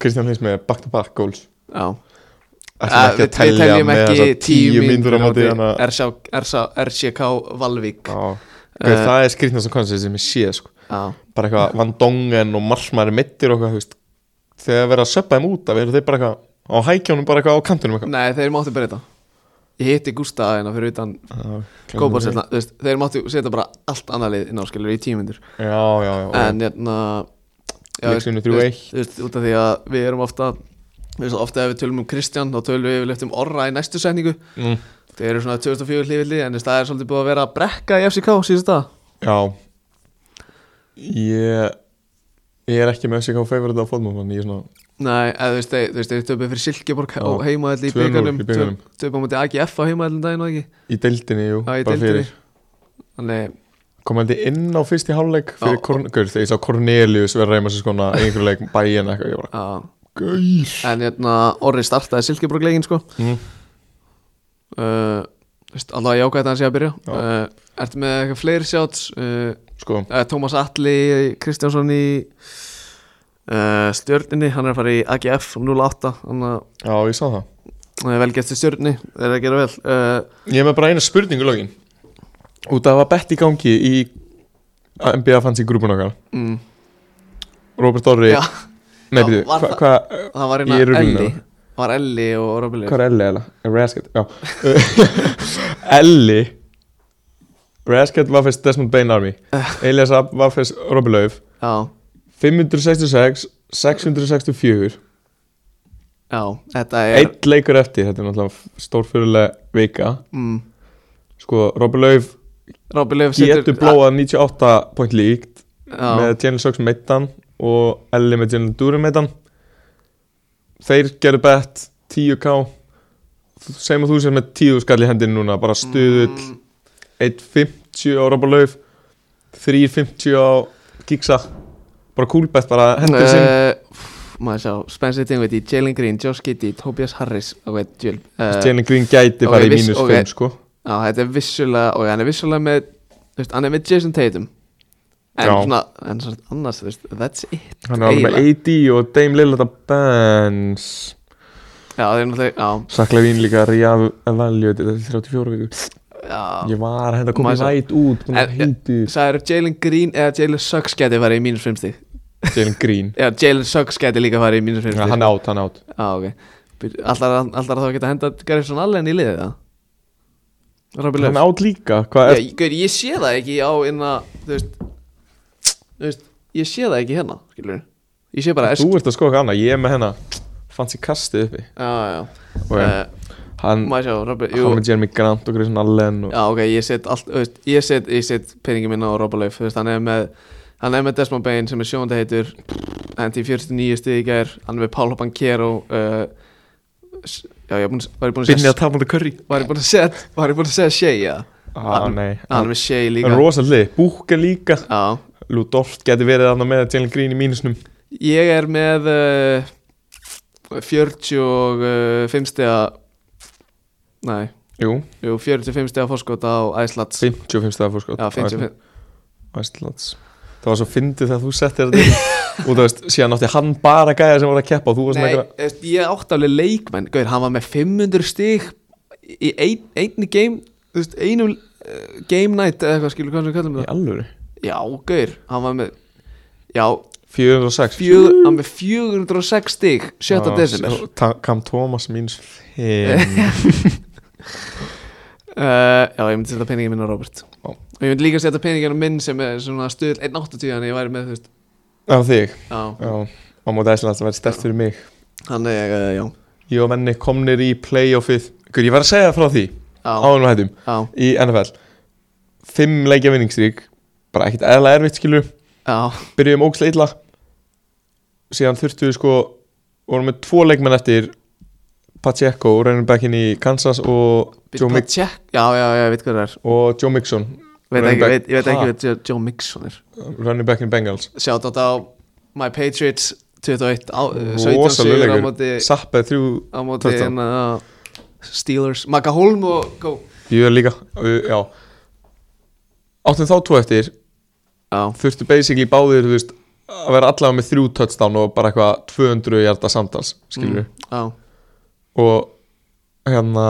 Kristján Hins með back to back goals
Já
Ætlum Ah, ekki
Eh,
að telja með þessar tíu mínútur á móti Eh. hana
RCK Valvík
Já,
Já,
ok, það er skrýtnast og konstant sem ég sé sko
já.
bara eitthvað Van Dongen og Marsmæri mittir og eitthvað, þú veist þegar verða að söppa þeim út, að verða þeir bara eitthvað á hækjónum, bara eitthvað á kantinum eitthvað
Nei, þeir máttu breyta Ég hitti Gústa hérna fyrir utan
Já,
Kópar
glemur
setna, þú veist, þeir máttu setja bara allt annað lið inn á skilur í tímyndur
því. Já, já, já,
En hérna já, þú veist,
Leiksvinni
þú veist,
3-1.
þú veist, Út af því að við erum ofta Við veist, ofta ef við tölum um Kristján Þá tölum við yfirleitt um Orra í næstu setningu
mm,
Þeir eru svona 2004 hlifildi En þú veist, það er svolítið búið að vera að brekka í FCK síðust það
já Ég Ég er ekki með SK favorite á fótmál en ég er svona,
Nei, eða þú veist, þeir, þú veist, þeir töpuð fyrir Silkeborg á
Já,
heimaðall í
2-0 í
byggarnum
bikarnum.
Töpuð á mútið AGF á heimaðallum daginn og ekki
í deildinni, jú
Já, í
bara
deildinni.
fyrir.
Þannig,
Komandi inn á fyrst í hálfleik fyrir
Já.
Korn- Gaur, þegar ég sá Cornelius vera reyma sko, sér skona einhver leik bæin eitthvað, ég bara,
á
gaur
En hérna, Orri startaði Silkeborg leikin, sko
mm.
uh, veist, Alltaf jákvæmt að hann sé að byrja
Já.
uh, Ertu með eitthvað fleiri sjáts uh,
Sko,
uh, Tómas Atli Kristjánsson í uh, stjörninni Hann er að fara í AGF 08 Hann er
já, ég sá það
uh, velgert til stjörninni Þeir eru að gera vel uh,
Ég hef með bara eina spurningu lögin Út af að það var bett í gangi í NBA fanns í grúpun okkar
mm,
Robert Orri
Já,
Nei,
já,
býtu,
var
hvað
það-
hva,
það var
Ég er
hérna
ruglinu.
Elli Það var Elli og Robili
hva er Ellie eða? Rasket, já Ellie Rasket var fyrst Desmond Bain Army Elias Ab var fyrst Robby Lauf
Já,
566, 664
já, þetta er
Eitt leikur eftir, þetta er náttúrulega stórfyrirlega vika
mm,
Sko, Robby Lauf
Robby Löf
getur blóað 98 point líkt með
Ah, Já,
Jalen Sox meittan og Ellie með Jalen Dury meittan þeir gerðu bett 10k segjum að þú sér með 10 skall í hendin núna bara stuðull 1.50 á Robalauf 3.50 á Gigsa bara kúlbett bara hendur sinn
uh, Mm, maður sjá, Spencer Dinwiddie, Jalen Green, Josh Giddy, Tobias Harris ok, Jill, uh, já,
Jalen Green gæti
ok,
bara í
viss-
mínus
ok.
5 sko
þetta er vissulega ok, hann er vissulega með, þú veist, hann er með Jason Tatum en
Já.
svona, en svona annars, þú veist, that's it
hann er alveg með AD og Dame Lillard að Benz
já, það er náttúrulega, já,
Sakla Vín líka re-evaluate þetta er 34 vikur
já
ég var hérna að henda komið
Mæsa.
væt út búin að
En-
heiti
sagður Jalen Green eða Jalen Suggs geti farið í mínus 50
Jalen Green
já, Jalen Suggs geti líka farið í mínus 50
Já, hann átt, hann átt
Já, ok Býtu, Allar, allar þá að geta henda Garrison Allen í liðið það? Robby
Hann
Löf
átt líka, hvað er
ég, gaur, ég sé það ekki á inna Þú veist Þú veist Ég sé það ekki hérna Skilur Ég sé bara
Þú ert að skoða hana, ég er með hennar Fanns í kastið uppi
Já, já Eh,
Og
okay.
ég, hann,
Má ég sjá Robby Jú
hann með Jeremy Grant og Grayson Allen og,
Já, ok Ég set allt þú veist, Ég set, ég set peningi minna á Robby Löf Þú veist, hann er með Hann er með Desmond Bain sem er sjónda heitur Hendi í 49 stig í gær Hann er með Paolo Banquero uh, s- Já, ég er búin, var ég búin að
Finnir
segja
að tapa hann curry
Var ég búin að segja Var ég búin að segja Shea, já
Á, Ah, nei
Hann er með Shea
Hann
líka
er rosalega, Búka líka
Já
Lou Dort geti verið hann með Jalen Green í mínusnum
Ég er með uh, 45 stega Nei,
Jú,
jú, 45 stega fórskot á Æslands
55 stað fórskot
Já, 55
Æslands Það var svo fyndið þegar þú settir þetta inn og þú veist, síðan átti hann bara gæja sem var að keppa og þú varst
Nei,
með eitthvað
veist, ég átti alveg leikmenn Gauður, hann var með 500 stig í ein, einni game þú veist, einum uh, game night eða eitthvað skilur hvað sem við kallum
Í
það
alvöru
Já, Gauður, hann var með Já,
406
fjögur, hann var með 406 stig 7.
Já,
desember
Ah, svo ta- Kam Thomas míns heim
Uh, já, ég myndi setja peningin minn á Robert
Já.
Og ég myndi líka setja peningin á minn sem er svona stuðl 1.80 Þannig ég væri með, þú veist
Á þig
Já,
Já, á móti Æslands það væri stert fyrir mig
þannig, uh,
eh,
já
Ég og menni komnir í playoffið Gur, ég var að segja frá því
Já,
áðan og hættum
já,
í NFL Fimm leikja vinningstrík Bara ekkert eðla erfitt skilu
já,
Byrjuðum ógst leitla Síðan þurftu við sko Vorum með tvo leikmenn eftir Pacheco, running backin í Kansas og Joe,
Bittu bara
Mix
check Já, já, já, ég veit hvað það er
og Joe Mixon
veit
Running
ekki,
back.
veit, Ég veit
Ha?
ekki hvað Joe- Joe Mixon er
running backin Bengals
Sjátt á My Patriots 21 á, uh, 17 sigur á
Rosalega
móti
leikur Sappaði þrjú
Á móti
13.
hérna Steelers Maka Holm og Go
Ég er líka uh, Já Áttum þá tvo eftir
Já,
Þurftu basically báðir þú veist Að vera allavega með þrjú touchdown og bara eitthvað 200 hjarta samtals Skilur
mm, Já,
Og hérna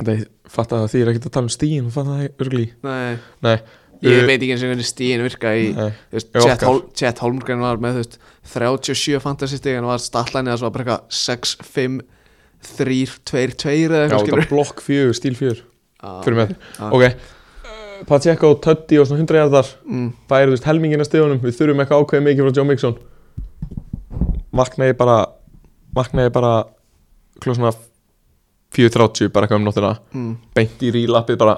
Nei, fatt að því er ekkert að tala um stíin Fatt að það er örgli
nei
Nei
Ég
uh,
veit ekki eins og hvernig stíðin virka í
Nei,
Þú veist,
Í
Chet,
okkar.
Hol Chet Holmgren var með þú veist, 37 fantasystig en var statlæni að svo bara eitthvað 6, 5, 3, 2, 2 eða
Já,
eitthvað
þetta
skilur
er blokk fjögur, stíl fjögur
Ah.
Fyrir með
já.
Ok uh, Pacheco, Tuddy og svona 100 hjartar
mm,
Það er þú veist helmingin að stíðunum Við þurfum eitthvað ákveðið mikið frá Joe Mixon Vaknaði bara Vaknaði bara Kljóð svona 4.30 bara eitthvað um nóttina
mm.
Beint í rílappið bara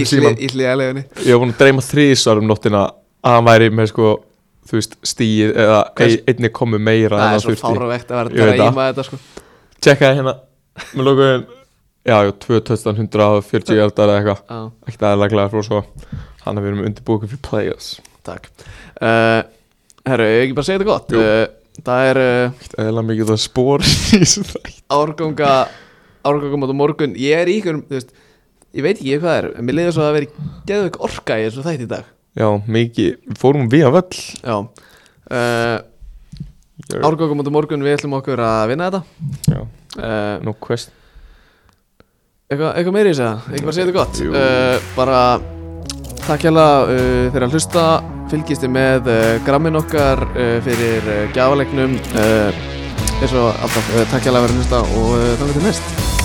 Í,
með
hli,
síman
í hliðalegunni
Ég var búin að dreyma þrísar um nóttina Að hann væri með sko Þú veist stíð Eða
Hvers-
einni komu meira
Það
en
er svo
þurfti.
fáravegt að
Ég
vera
veit
að reyma þetta sko
Tjekkaði hérna Með lokuðin Já, já, 2140 hjartar eða eitthvað
Já,
Ekkert aðeins glæðar frá svo Hann að við erum undirbúið fyrir players
takk uh, Herru, ég ekki bara segja þetta gott
Jú.
uh, Það er uh,
Ekkert aðeins mikið það spór í þessu þætti.
árganga árganga mát á morgun Ég er í ykkur, þú veist Ég veit ekki hvað það er, en mér leiði svo að vera geðveik orka í þessu þætti í dag
Já, mikið, við fórum við að völl
Já uh, Árgangum út á morgun við ætlum okkur að vinna þetta
Já,
uh,
no question
eitthvað, eitthvað meiri í það, ekki bara segja þetta gott
Jú.
uh, Bara takk hjá uh, fyrir að hlusta Fylgist þið með uh, grammin okkar uh, Eh, fyrir uh, gjafalegnum uh, eins og alltaf uh, takk hjá að vera að hlusta og uh, þannig til næst